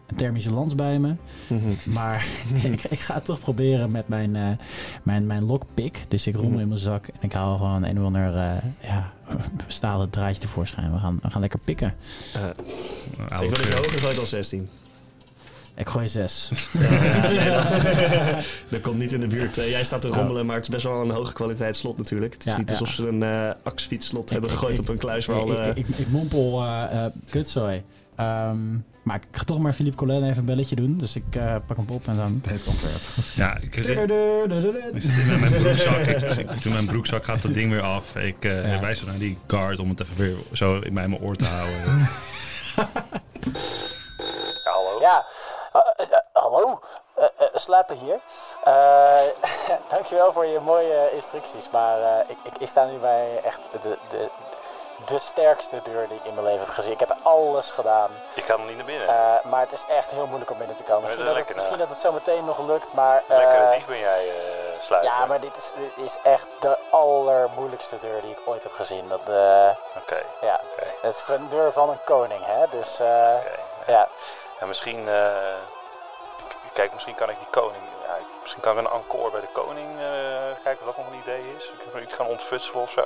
Speaker 4: een thermische lans bij me.
Speaker 7: Mhm. (laughs)
Speaker 4: Maar (laughs) ik, ik ga het toch proberen met mijn, eh, mijn, mijn lockpick. Dus ik
Speaker 7: Mhm.
Speaker 4: rommel in mijn zak en ik haal gewoon een of ander eh, ja, (laughs) stalen draadje tevoorschijn. We gaan, we gaan lekker pikken.
Speaker 3: Oude
Speaker 7: Ik wil dat je
Speaker 3: geur.
Speaker 7: hoger gooit dan 16.
Speaker 4: Ik gooi zes.
Speaker 7: Ja, nee, dat, dat komt niet in de buurt. Eh, jij staat te rommelen, maar het is best wel een hoge kwaliteit slot natuurlijk. Het is
Speaker 4: Ja,
Speaker 7: niet
Speaker 4: ja.
Speaker 7: alsof ze een eh axfietsslot hebben
Speaker 4: Ik- ik-
Speaker 7: gegooid
Speaker 4: ik-
Speaker 7: op een kluis waar
Speaker 4: ik-
Speaker 7: al... eh,
Speaker 4: ik, ik, ik mompel eh eh kutzooi. Ehm, maar ik ga toch maar Philippe Collin even een belletje doen. Dus ik eh, pak hem op en dan...
Speaker 6: Het concert.
Speaker 3: Ja, ik zit, ik zit in mijn broekzak. Ik, als ik- toen mijn broekzak gaat dat ding weer af. Ik eh
Speaker 4: Ja.
Speaker 3: wijs naar die guard om het even weer zo in mijn mijn oor te houden.
Speaker 1: Ja, hallo.
Speaker 2: Ja, eh, eh, hallo, Eh, eh, slapen hier. Eh, (laughs) dankjewel voor je mooie instructies, maar eh, ik, ik, ik sta nu bij echt de, de, de sterkste deur die ik in mijn leven heb gezien. Ik heb alles gedaan,
Speaker 1: Ik ga nog niet naar binnen.
Speaker 2: eh, maar het is echt heel moeilijk om binnen te komen.
Speaker 1: Maar
Speaker 2: Misschien
Speaker 1: dat
Speaker 2: dat,
Speaker 1: lekker,
Speaker 2: het, misschien
Speaker 1: hè?
Speaker 2: dat het zo meteen nog lukt, maar... eh,
Speaker 1: Lekker dief ben jij, eh Sluiper.
Speaker 2: ja, maar dit is, dit is echt de allermoeilijkste deur die ik ooit heb gezien. Dat, eh,
Speaker 1: Oké,
Speaker 2: ja,
Speaker 1: oké,
Speaker 2: het is een deur van een koning, hè, dus... eh,
Speaker 1: oké.
Speaker 2: ja.
Speaker 1: En misschien... eh, k- kijk, misschien kan ik die koning... Ja, ik- misschien kan ik een encore bij de koning eh, kijken of dat nog een idee is. Ik, ik ga ontfutselen of zo.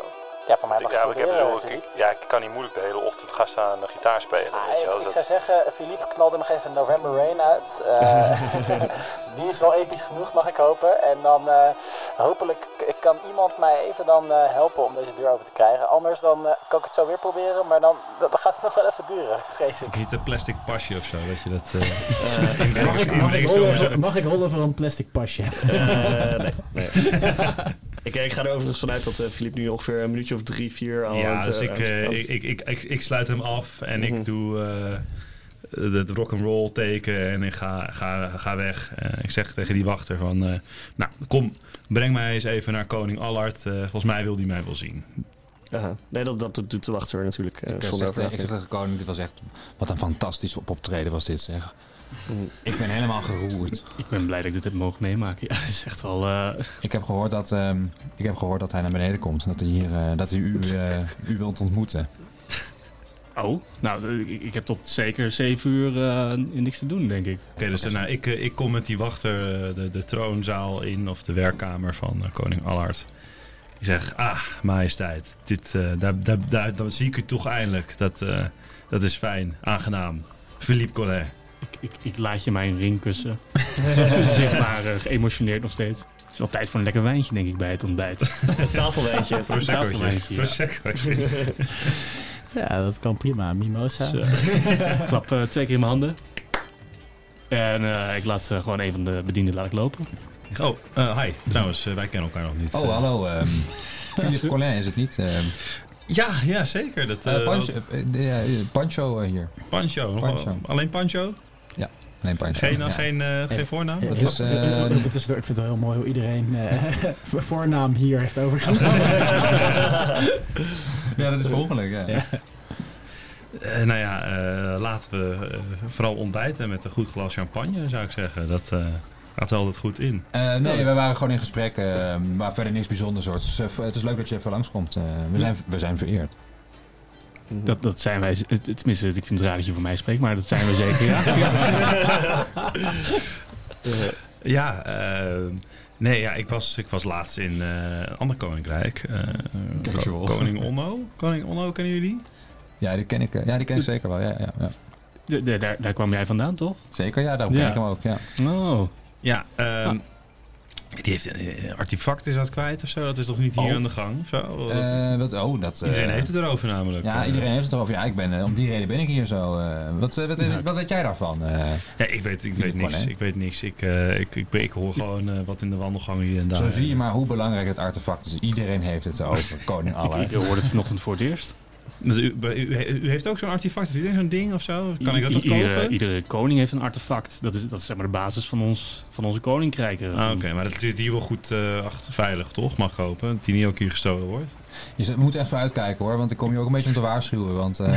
Speaker 2: Ja, voor mij mag je
Speaker 1: Ja,
Speaker 2: het
Speaker 1: maar ik, heb,
Speaker 2: proberen,
Speaker 1: bedoel, ik,
Speaker 2: Philippe.
Speaker 1: ik- ja, ik kan niet moeilijk de hele ochtend gaan staan eh, gitaar spelen.
Speaker 2: Ah,
Speaker 1: weet je
Speaker 2: ik,
Speaker 1: wel.
Speaker 2: ik
Speaker 1: Dat-
Speaker 2: zou zeggen, Philippe knalde nog even November Rain uit. Eh, (laughs) die is wel episch genoeg, mag ik hopen. En dan eh, hopelijk k- kan iemand mij even dan eh, helpen om deze deur open te krijgen. Anders dan eh, kan ik het zo weer proberen, maar dan, dan gaat (laughs) het nog wel even duren, vrees ik.
Speaker 3: Ik niet een plastic pasje of zo, dat je (laughs) dat... eh,
Speaker 4: Mag ik, mag, ik rollen voor, mag ik rollen voor een plastic pasje?
Speaker 10: Eh, nee.
Speaker 7: (laughs)
Speaker 10: nee. ik, ik ga er overigens vanuit dat eh Filip nu ongeveer een minuutje of drie, vier aan
Speaker 3: Ja,
Speaker 10: het,
Speaker 3: dus
Speaker 10: eh,
Speaker 3: ik,
Speaker 10: aan het- Mhm.
Speaker 3: eh,
Speaker 10: aan het-
Speaker 3: ik, ik, ik, ik, ik sluit hem af en ik doe eh het rock'n'roll teken en ik ga, ga, ga weg. Eh, ik zeg tegen die wachter van, eh, nou kom, breng mij eens even naar koning Allard. Eh, volgens mij wil die mij wel zien.
Speaker 10: Aha. Nee, dat, dat doet de wachter natuurlijk. eh,
Speaker 6: Ik zeg,
Speaker 10: zonder
Speaker 6: tegen- ik zeg
Speaker 10: vraag.
Speaker 6: tegen koning, dit was echt... Wat een fantastisch op optreden was dit, zeg. Ik ben helemaal geroerd.
Speaker 5: Ik ben blij dat ik dit heb mogen meemaken. Ja, het is echt wel... eh,
Speaker 6: Ik heb gehoord dat, ehm, ik heb gehoord dat hij naar beneden komt. en Dat hij, hier, eh, dat hij u, eh, u wilt (laughs) ontmoeten.
Speaker 5: Oh, nou, ik, ik heb tot zeker zeven uur eh, niks te doen, denk ik.
Speaker 3: Oké, dus eh, nou, ik, eh, ik kom met die wachter eh, de, de troonzaal in of de werkkamer van eh, koning Allard. Ik zeg, ah, majesteit, dit, eh, daar, daar, daar, dan zie ik u toch eindelijk. Dat, eh, dat is fijn, aangenaam. Philippe Collet.
Speaker 5: Ik, ik, ik laat je mijn ring kussen. (laughs) Zichtbaar eh, geëmotioneerd nog steeds. Het is wel tijd voor een lekker wijntje, denk ik, bij het ontbijt.
Speaker 10: Een tafelwijntje.
Speaker 5: (laughs) Tafelwijntje,
Speaker 3: Prosecco'tje.
Speaker 5: ja.
Speaker 3: Prosecco'tje.
Speaker 4: (laughs) Ja, dat kan prima. Mimosa.
Speaker 5: Zo. Ik klap eh, twee keer in mijn handen. En eh, ik laat eh, gewoon een van de bedienden laat ik lopen.
Speaker 3: (laughs) Oh, eh, hi. Trouwens, eh, wij kennen elkaar nog niet.
Speaker 6: Oh,
Speaker 3: Eh,
Speaker 6: hallo. ehm Philippe Collin is het niet? ehm
Speaker 3: Ja, ja, zeker. Dat, eh
Speaker 6: eh, Pancho,
Speaker 3: dat-
Speaker 6: eh, de- ja, eh, Pancho eh, hier.
Speaker 3: Pancho. Nog wel-
Speaker 6: Pancho.
Speaker 3: Alleen Pancho?
Speaker 6: Alleen Pancho.
Speaker 3: Geen,
Speaker 6: ja.
Speaker 3: geen, eh, geen voornaam?
Speaker 6: Dat is, eh,
Speaker 4: Eh, even tussendoor, ik vind het wel heel mooi hoe iedereen eh, (laughs) voornaam hier heeft overgenomen.
Speaker 6: ja, dat is per ongeluk, ja.
Speaker 4: Ja.
Speaker 3: Eh, nou ja, eh, laten we eh, vooral ontbijten met een goed glas champagne, zou ik zeggen. Dat eh, gaat er altijd goed in.
Speaker 6: Eh, nee, we waren gewoon in gesprek, eh, maar verder niks bijzonders. Hoor. Het, is, eh, v- het is leuk dat je even langskomt. eh we, zijn, we zijn vereerd.
Speaker 5: Dat, dat zijn wij, eh, tenminste, ik vind het raar dat je voor mij spreekt, maar dat zijn we zeker. Ja.
Speaker 3: Ja, eh, nee, ja, ik, was, ik was laatst in eh, een ander koninkrijk. Eh,
Speaker 6: Kijk,
Speaker 3: ko-
Speaker 6: joh.
Speaker 3: koning Onno. Koning Onno, kennen jullie?
Speaker 6: Ja, die ken ik, eh, ja, die ken ik zeker wel. Ja, ja, ja.
Speaker 5: De- de- daar, daar kwam jij vandaan, toch?
Speaker 6: Zeker, ja, daarom ken
Speaker 5: Ja.
Speaker 6: ik hem ook. Ja.
Speaker 5: Oh,
Speaker 3: Ja,
Speaker 5: Ah.
Speaker 3: ehm, die heeft een eh, artefact is dat kwijt of zo. Dat is toch niet hier
Speaker 6: Oh.
Speaker 3: aan de gang? of Zo?
Speaker 6: Eh, wat, oh, dat, eh,
Speaker 3: Iedereen heeft het erover namelijk.
Speaker 6: Ja,
Speaker 3: Eh,
Speaker 6: iedereen heeft het erover. Ja, ik ben, eh, om die reden ben ik hier zo. eh, wat, eh, wat, weet- wat weet jij daarvan? eh?
Speaker 3: Ja, ik weet, ik
Speaker 6: Jullie
Speaker 3: weet niks.
Speaker 6: plannen, hè?
Speaker 3: Ik weet niks. Ik, eh, ik, ik, ik hoor gewoon eh, wat in de (laughs) wandelgangen hier en daar.
Speaker 6: zo zie je maar hoe belangrijk het artefact is. Iedereen heeft het
Speaker 3: (laughs)
Speaker 6: over. Koning
Speaker 5: ik, ik
Speaker 6: Allard.
Speaker 5: hoorde het vanochtend voor het eerst.
Speaker 3: Dus u, bij- u, u heeft ook zo'n artefact, heeft iedereen zo'n ding of zo? (laughs) Kan ik dat
Speaker 5: I-
Speaker 3: nog
Speaker 5: eh,
Speaker 3: kopen?
Speaker 5: Iedere, iedere koning heeft een artefact. Dat is, dat is zeg maar de basis van, ons, van onze koninkrijken.
Speaker 3: Ah, Oké, maar dat zit hier wel goed eh, achter, veilig, toch? Mag kopen, dat die niet ook hier gestolen wordt.
Speaker 6: Je zet- moet even uitkijken hoor, want ik kom je ook een beetje om te waarschuwen. Want
Speaker 3: (laughs)
Speaker 6: eh,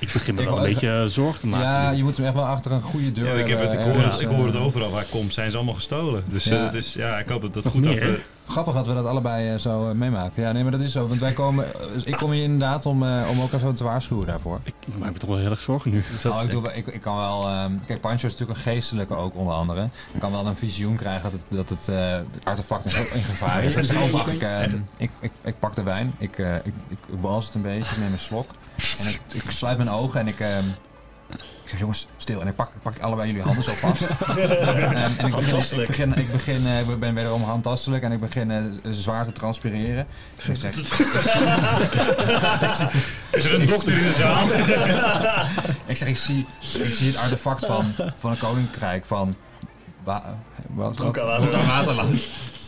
Speaker 5: Ik begin me
Speaker 6: Ik
Speaker 5: wel een
Speaker 6: wou-
Speaker 5: beetje eh, zorgen te maken.
Speaker 6: ja,
Speaker 5: nu.
Speaker 6: je moet hem echt wel achter een goede deur
Speaker 3: Ja, ik, heb het, ik,
Speaker 6: hebben,
Speaker 3: hoor, het-
Speaker 6: ergens,
Speaker 3: ik
Speaker 6: eh.
Speaker 3: hoor het overal waar ik kom, zijn ze allemaal gestolen. Dus eh,
Speaker 6: Ja.
Speaker 3: dat is, ja, ik hoop dat dat
Speaker 5: Nog
Speaker 3: goed
Speaker 5: meer?
Speaker 3: achter...
Speaker 6: Grappig dat we dat allebei eh, zo eh, meemaken. Ja, nee, maar dat is zo. Want wij komen, eh, ik kom hier inderdaad om, eh, om ook even te waarschuwen daarvoor.
Speaker 5: Ik, ik maak me toch wel heel erg zorgen nu.
Speaker 6: Nou, ik, doe, wel- ik, ik kan wel. ehm, kijk, Pancho is natuurlijk een geestelijke ook onder andere. Ik kan wel een visioen krijgen dat het, dat het eh, het artefact in, in
Speaker 3: (laughs)
Speaker 6: gevaar is. Dus ik, ik, ehm, ik, ik, ik pak de wijn, ik, eh ik, ik, ik wals het een beetje, ik neem een slok. En ik, ik sluit mijn ogen en ik. ehm, ik zeg jongens, stil. En ik pak, ik pak allebei jullie handen zo
Speaker 3: (laughs)
Speaker 6: vast. Ehm, en ik begin, ik,
Speaker 10: Handtastelijk.
Speaker 6: begin, ik, begin, eh, ik ben wederom handtastelijk en ik begin eh, z- zwaar te transpireren.
Speaker 3: (laughs)
Speaker 6: Ik zeg,
Speaker 3: Is er een dokter in de zaal?
Speaker 6: Ik zeg, ik zie, ik zie het artefact van, van een koninkrijk van... Wa, wat, wat,
Speaker 10: Broekhawaterland.
Speaker 6: Waterland.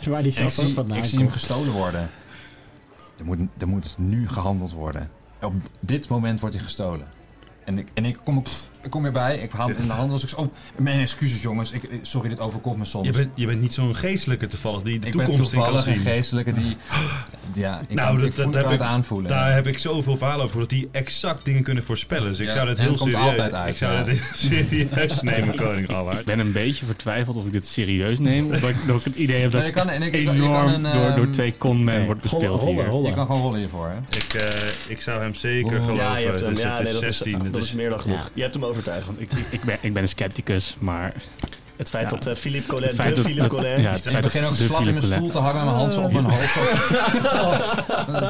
Speaker 4: Waar die
Speaker 6: Ik
Speaker 4: zelf ook
Speaker 6: zie,
Speaker 4: vandaan
Speaker 6: ik zie hem
Speaker 4: nou komt.
Speaker 6: gestolen worden. Er moet, er moet dus nu gehandeld worden. Op dit moment wordt hij gestolen. En ik, en ik, kom, op, ik kom erbij, ik haal hem in de handel. Dus ik zeg, oh, mijn excuses jongens, ik, ik- sorry, dit overkomt me soms.
Speaker 3: Je bent, je bent niet zo'n geestelijke toevallig die de
Speaker 6: ik ben
Speaker 3: toekomst in kan
Speaker 6: toevallig
Speaker 3: zien.
Speaker 6: een geestelijke die... Ja, ik,
Speaker 3: Nou,
Speaker 6: kan,
Speaker 3: dat-
Speaker 6: ik voel,
Speaker 3: dat
Speaker 6: ik kan
Speaker 3: heb
Speaker 6: het
Speaker 3: ik-
Speaker 6: aanvoelen.
Speaker 3: Daar heb ik zoveel verhalen over dat die exact dingen kunnen voorspellen. Dus ik
Speaker 6: Ja,
Speaker 3: zou dat
Speaker 6: en het
Speaker 3: heel
Speaker 6: komt
Speaker 3: serieus.
Speaker 6: altijd uit,
Speaker 3: ik zou
Speaker 6: ja.
Speaker 3: dat heel (laughs) serieus nemen, koning Allard.
Speaker 5: Ik ben een beetje vertwijfeld of ik dit serieus
Speaker 6: (laughs)
Speaker 5: neem. Omdat ik, dat ik het idee heb dat
Speaker 6: Nee,
Speaker 5: ik
Speaker 6: je kan- en ik- je kan- je
Speaker 5: enorm
Speaker 6: kan een,
Speaker 5: door,
Speaker 6: ehm,
Speaker 5: door twee conmen
Speaker 4: Oké,
Speaker 5: wordt
Speaker 4: rollen,
Speaker 5: bespeeld
Speaker 4: rollen,
Speaker 5: hier.
Speaker 4: rollen.
Speaker 6: Je kan gewoon rollen hiervoor, hè?
Speaker 3: Ik, eh, ik zou hem zeker
Speaker 6: Oeh.
Speaker 3: geloven.
Speaker 10: Ja, je hebt hem.
Speaker 3: Dus
Speaker 10: Ja,
Speaker 3: het
Speaker 10: nee,
Speaker 3: is
Speaker 10: dat is,
Speaker 3: 16.
Speaker 10: dat
Speaker 3: dus-
Speaker 10: is meer dan genoeg. Je hebt hem overtuigd.
Speaker 3: Eh,
Speaker 5: Want Ik, ik, ik ben, ik ben een scepticus, maar
Speaker 7: Het feit
Speaker 5: Ja.
Speaker 7: dat eh, Philippe Collet,
Speaker 5: Het feit
Speaker 7: de
Speaker 5: dat-
Speaker 7: Philippe
Speaker 5: dat-
Speaker 7: Collet...
Speaker 5: ja, het
Speaker 6: ik
Speaker 5: feit
Speaker 6: begin
Speaker 5: dat
Speaker 6: ook
Speaker 5: de
Speaker 6: slap in mijn
Speaker 5: Philippe
Speaker 6: stoel te hangen en mijn handen op mijn hoofd.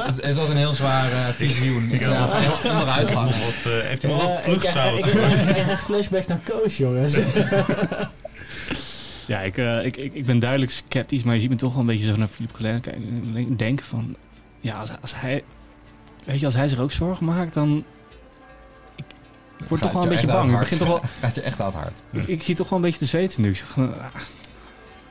Speaker 6: Het- Het was een heel zware visioen. Ik
Speaker 3: ook.
Speaker 6: heb helemaal onderuit hangen.
Speaker 3: Wat, eh, heeft iemand wat
Speaker 4: ik, krijg, ik,
Speaker 3: vluchtzout?
Speaker 4: ik krijg echt flashbacks naar Koos, jongens.
Speaker 5: Ja, ik, eh, ik, ik, ik ben duidelijk sceptisch, maar je ziet me toch wel een beetje zo naar Philippe Collin kijken en denken van... Ja, als, als hij... Weet je, als hij zich ook zorgen maakt, dan... Ik, ik word toch wel een beetje bang. Ik, begin toch wel,
Speaker 6: (laughs) Gaat je echt aan het hart.
Speaker 5: ik, ik zie toch wel een beetje te zweten nu. Ik, zeg, van, ah,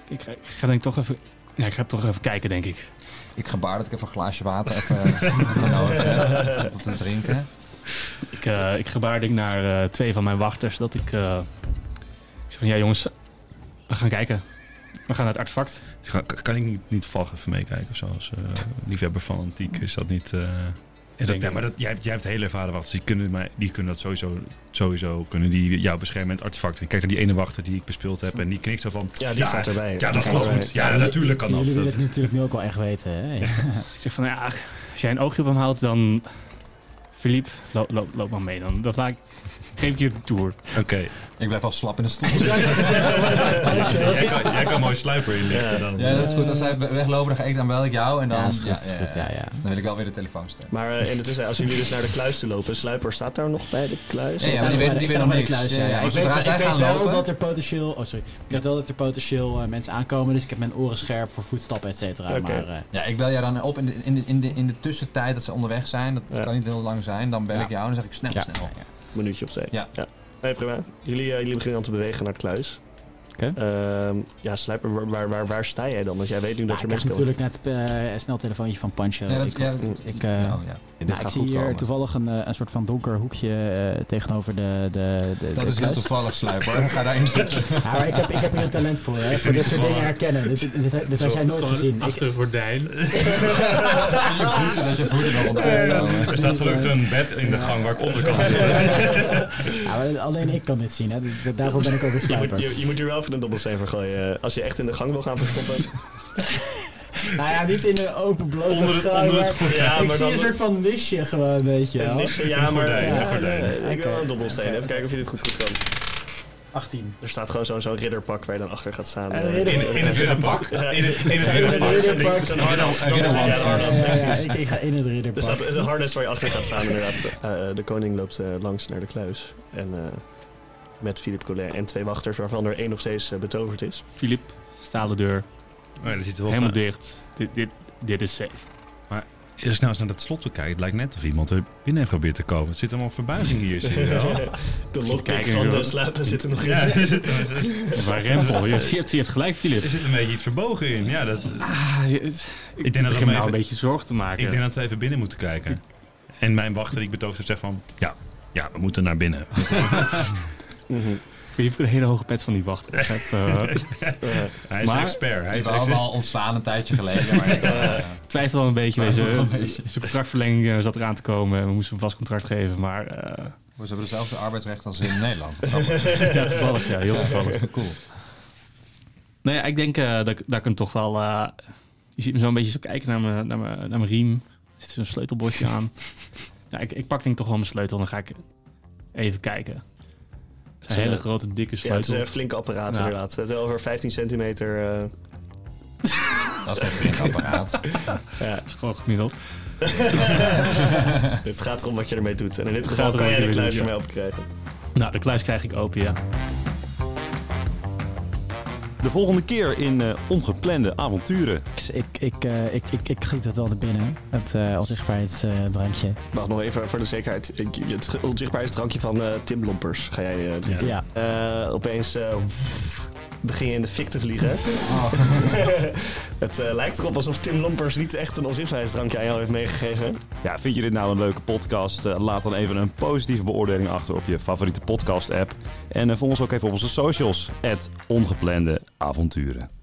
Speaker 5: ik, ga- ik ga denk ik toch even... Ja, ik ga toch even kijken, denk ik.
Speaker 6: Ik gebaar dat ik even een glaasje water even even nodig heb om te drinken.
Speaker 5: Ik, eh, ik gebaar denk ik naar eh, twee van mijn wachters dat ik... eh, ik zeg van, ja jongens, we gaan kijken. We gaan naar het artefact.
Speaker 3: Dus ga- Kan, ik niet, niet Valk even meekijken of zo? Als eh, liefhebber van antiek is dat niet... eh, ja, dat,
Speaker 5: Denk
Speaker 3: ja,
Speaker 5: ik.
Speaker 3: maar dat, jij, hebt- jij hebt hele ervaren wachters. Die kunnen, mij, die kunnen dat sowieso, sowieso kunnen die jou beschermen met artefacten. En kijk naar die ene wachter die ik bespeeld heb. En die knikt zo van...
Speaker 7: Ja, die staat erbij.
Speaker 3: Ja,
Speaker 7: Die
Speaker 3: dat is
Speaker 7: staat
Speaker 3: wel
Speaker 7: erbij.
Speaker 3: goed. Ja, natuurlijk kan dat.
Speaker 4: Jullie willen
Speaker 3: dat.
Speaker 4: het natuurlijk nu ook wel echt weten, hè?
Speaker 5: Ik zeg van, ja, als jij een oogje op hem houdt, dan... Philippe, loop, loop, loop maar mee dan. Dat laat ik... Geef ik je de tour.
Speaker 3: Oké.
Speaker 6: Ik blijf wel slap in de stoel.
Speaker 3: Jij, kan- jij kan mooi sluiper inlichten dan.
Speaker 6: Ja, dat is goed. Als zij weglopen, dan ga ik dan wel ik jou. En dan,
Speaker 4: Ja, is goed, is goed, ja, ja.
Speaker 6: dan wil ik wel weer de telefoon staan.
Speaker 7: Maar eh, in de tussentijd, als jullie dus naar de kluis te lopen... Sluiper staat daar nog bij de kluis?
Speaker 6: Ja, ja, maar die
Speaker 4: Ik sta
Speaker 6: weet-
Speaker 4: nog bij
Speaker 6: die weet nog
Speaker 4: de
Speaker 6: niks.
Speaker 4: kluis,
Speaker 6: Ja,
Speaker 4: ja.
Speaker 6: ja,
Speaker 4: Ik
Speaker 6: maar
Speaker 4: weet-
Speaker 6: zodra zij
Speaker 4: ik weet
Speaker 6: gaan
Speaker 4: wel
Speaker 6: lopen-
Speaker 4: dat er potentieel... Oh, sorry. Ik weet wel dat er potentieel eh, mensen aankomen, dus ik heb mijn oren scherp voor voetstappen, et cetera.
Speaker 7: Oké.
Speaker 4: Maar eh,
Speaker 6: Ja, ik bel jou dan op in de, in de, in de, in de tussentijd dat ze onderweg zijn. Dat kan niet heel lang zijn. Dan bel
Speaker 4: Ja.
Speaker 6: ik jou en dan zeg ik snel,
Speaker 4: ja.
Speaker 6: snel.
Speaker 7: minuutje of twee.
Speaker 6: Ja.
Speaker 7: Nee, prima. Jullie, eh, jullie beginnen dan te bewegen naar de kluis.
Speaker 4: Oké.
Speaker 7: Ehm, ja, Sluiper, waar, waar, waar, waar sta jij dan? Want jij weet nu
Speaker 4: nou,
Speaker 7: dat
Speaker 4: ik
Speaker 7: er
Speaker 4: krijg
Speaker 7: mensen komen.
Speaker 4: natuurlijk net eh, een sneltelefoontje van Pancho.
Speaker 6: Ja, dat-
Speaker 4: Ik-
Speaker 6: ja,
Speaker 4: ik,
Speaker 6: ja,
Speaker 4: eh,
Speaker 6: ja.
Speaker 4: nou, ik zie hier toevallig een, eh, een soort van donker hoekje eh, tegenover de, de, de
Speaker 6: Dat
Speaker 4: de
Speaker 6: is heel
Speaker 4: kluis.
Speaker 6: toevallig, Sluiper. Ga daarin zitten.
Speaker 4: Ja, maar ik, heb, ik heb hier een talent voor, hè, voor dit soort dingen herkennen. Dit, dit, dit, dit had jij nooit gezien. Ik,
Speaker 3: een gordijn.
Speaker 6: je voeten, dat je voeten nog onderuit komen.
Speaker 3: Er staat gelukkig een bed in de gang waar ik onder kan zitten.
Speaker 4: ja, maar alleen ik kan dit zien, hè. Dus daarvoor ben ik ook een
Speaker 7: Je moet,
Speaker 4: sluiper.
Speaker 7: je, je moet hier wel even een dobbelsteen voor gooien. eh, Als je echt in de gang wil gaan verstoppen.
Speaker 4: Nou ja, niet in een open blote
Speaker 3: Onder het-
Speaker 4: gaai,
Speaker 3: onder het
Speaker 4: maar
Speaker 3: gordijn.
Speaker 7: Ja,
Speaker 4: ik
Speaker 7: maar
Speaker 4: zie
Speaker 7: dan-
Speaker 4: een soort van nisje gewoon, weet je
Speaker 7: Een
Speaker 4: wel.
Speaker 7: nisje, ja, maar...
Speaker 3: gordijn,
Speaker 7: ja,
Speaker 3: een gordijn.
Speaker 7: nee, Ik wil wel
Speaker 4: Oké.
Speaker 7: een dobbelsteen. Even kijken of je dit goed, goed kan.
Speaker 4: 18.
Speaker 7: Er staat gewoon zo'n zo'n ridderpak waar je dan achter gaat staan.
Speaker 4: Een
Speaker 7: Eh,
Speaker 4: ridder-
Speaker 7: in-
Speaker 3: In het ridderpak. In het- in het
Speaker 4: Zijn we met
Speaker 3: ridderpak.
Speaker 4: een
Speaker 7: zo'n ding,
Speaker 4: ridderpak?
Speaker 7: Zo'n harnas.
Speaker 6: Een ridderhand.
Speaker 7: Ja, een
Speaker 4: Ja,
Speaker 7: harnas.
Speaker 4: ja, ja, ik, ik ga in het
Speaker 7: Er staat
Speaker 4: ridderpak.
Speaker 7: er Dus is een harnas waar je achter gaat staan, inderdaad. Eh, eh, de koning loopt eh, langs naar de kluis. En eh, met Philippe Collet en twee wachters, waarvan er één nog steeds eh, betoverd is.
Speaker 5: Philippe, stalen deur.
Speaker 3: Oh ja, dat ziet er wel
Speaker 5: Helemaal
Speaker 3: fijn.
Speaker 5: dicht. Dit, dit, dit is safe.
Speaker 3: Als je nou eens naar dat slot te kijken, het lijkt net of iemand er binnen heeft geprobeerd te komen. Het zit allemaal verbazing hier,
Speaker 7: (laughs)
Speaker 3: zie je wel.
Speaker 7: De lockpick
Speaker 5: kijken,
Speaker 7: van de
Speaker 5: joh.
Speaker 7: slapen zit er nog in.
Speaker 3: Ja, er zit, er, zit,
Speaker 5: Waar rempel. Je, je, hebt, je hebt gelijk, Philippe.
Speaker 3: er zit een beetje iets verbogen in. Ja, dat,
Speaker 5: Ah, je- het- ik,
Speaker 3: denk dat we
Speaker 5: begin me
Speaker 3: hem
Speaker 5: nou
Speaker 3: even-
Speaker 5: een beetje zorgen te maken.
Speaker 3: ik denk dat we even binnen moeten kijken. En mijn wachter die ik betoogd heb, zegt van... Ja, ja, we moeten naar binnen.
Speaker 5: Je hebt een hele hoge pet van die wachter. Ik heb, eh,
Speaker 3: Hij is
Speaker 5: Maar-
Speaker 3: een expert. Hij
Speaker 6: Die
Speaker 3: is,
Speaker 11: Nou,
Speaker 6: waren allemaal ontstaan een tijdje geleden. Maar ik, eh,
Speaker 5: twijfel al een beetje. Deze,
Speaker 6: Twijfel al een beetje.
Speaker 5: (laughs) zijn contractverlenging eh, zat eraan te komen. en We moesten een vast contract geven. Maar eh,
Speaker 6: ze hebben dezelfde arbeidsrecht als in Nederland. Dat is grappig.
Speaker 5: ja, toevallig. Ja, heel toevallig.
Speaker 6: Cool.
Speaker 5: Nou ja, ik denk eh, dat, ik- dat ik hem toch wel... eh, je ziet me zo een beetje zo kijken naar mijn, naar mijn, naar mijn riem. Er zit zo'n sleutelbosje aan. Ja, ik, ik pak denk ik toch wel mijn sleutel en dan ga ik even kijken. Het is Een
Speaker 7: Zo,
Speaker 5: hele
Speaker 7: ja.
Speaker 5: grote, dikke
Speaker 7: Ja, het is
Speaker 5: sleutel.
Speaker 7: een flinke apparaat,
Speaker 5: Ja.
Speaker 7: inderdaad. Het is over 15 centimeter.
Speaker 5: (laughs)
Speaker 7: eh,
Speaker 6: Dat is wel een flink apparaat.
Speaker 5: Dat is gewoon gemiddeld.
Speaker 7: het gaat erom wat je ermee doet. En in dit
Speaker 5: Het
Speaker 7: geval
Speaker 5: gaat
Speaker 7: kan jij
Speaker 5: erom
Speaker 7: de
Speaker 5: wat je
Speaker 7: kluis
Speaker 5: ermee
Speaker 7: ermee opkrijgen.
Speaker 5: Nou, de kluis krijg ik open, ja.
Speaker 11: De volgende keer in eh, Ongeplande Avonturen.
Speaker 4: Ik, ik, eh, ik, ik, ik giet het wel erbinnen, het eh onzichtbaarheidsdrankje.
Speaker 7: Wacht nog even voor de zekerheid. Ik- Het onzichtbaarheidsdrankje van eh, Tim Lompers ga jij eh,
Speaker 3: Ja.
Speaker 4: ja.
Speaker 7: Eh, opeens eh, wff, begin je in de fik te vliegen. (laughs) het eh, lijkt erop alsof Tim Lompers niet echt een onzichtbaarheidsdrankje aan jou heeft meegegeven.
Speaker 11: Ja, vind je dit nou een leuke podcast? Eh, Laat dan even een positieve beoordeling achter op je favoriete podcast app. En eh, volg ons ook even op onze socials. Het Ongeplande Avonturen.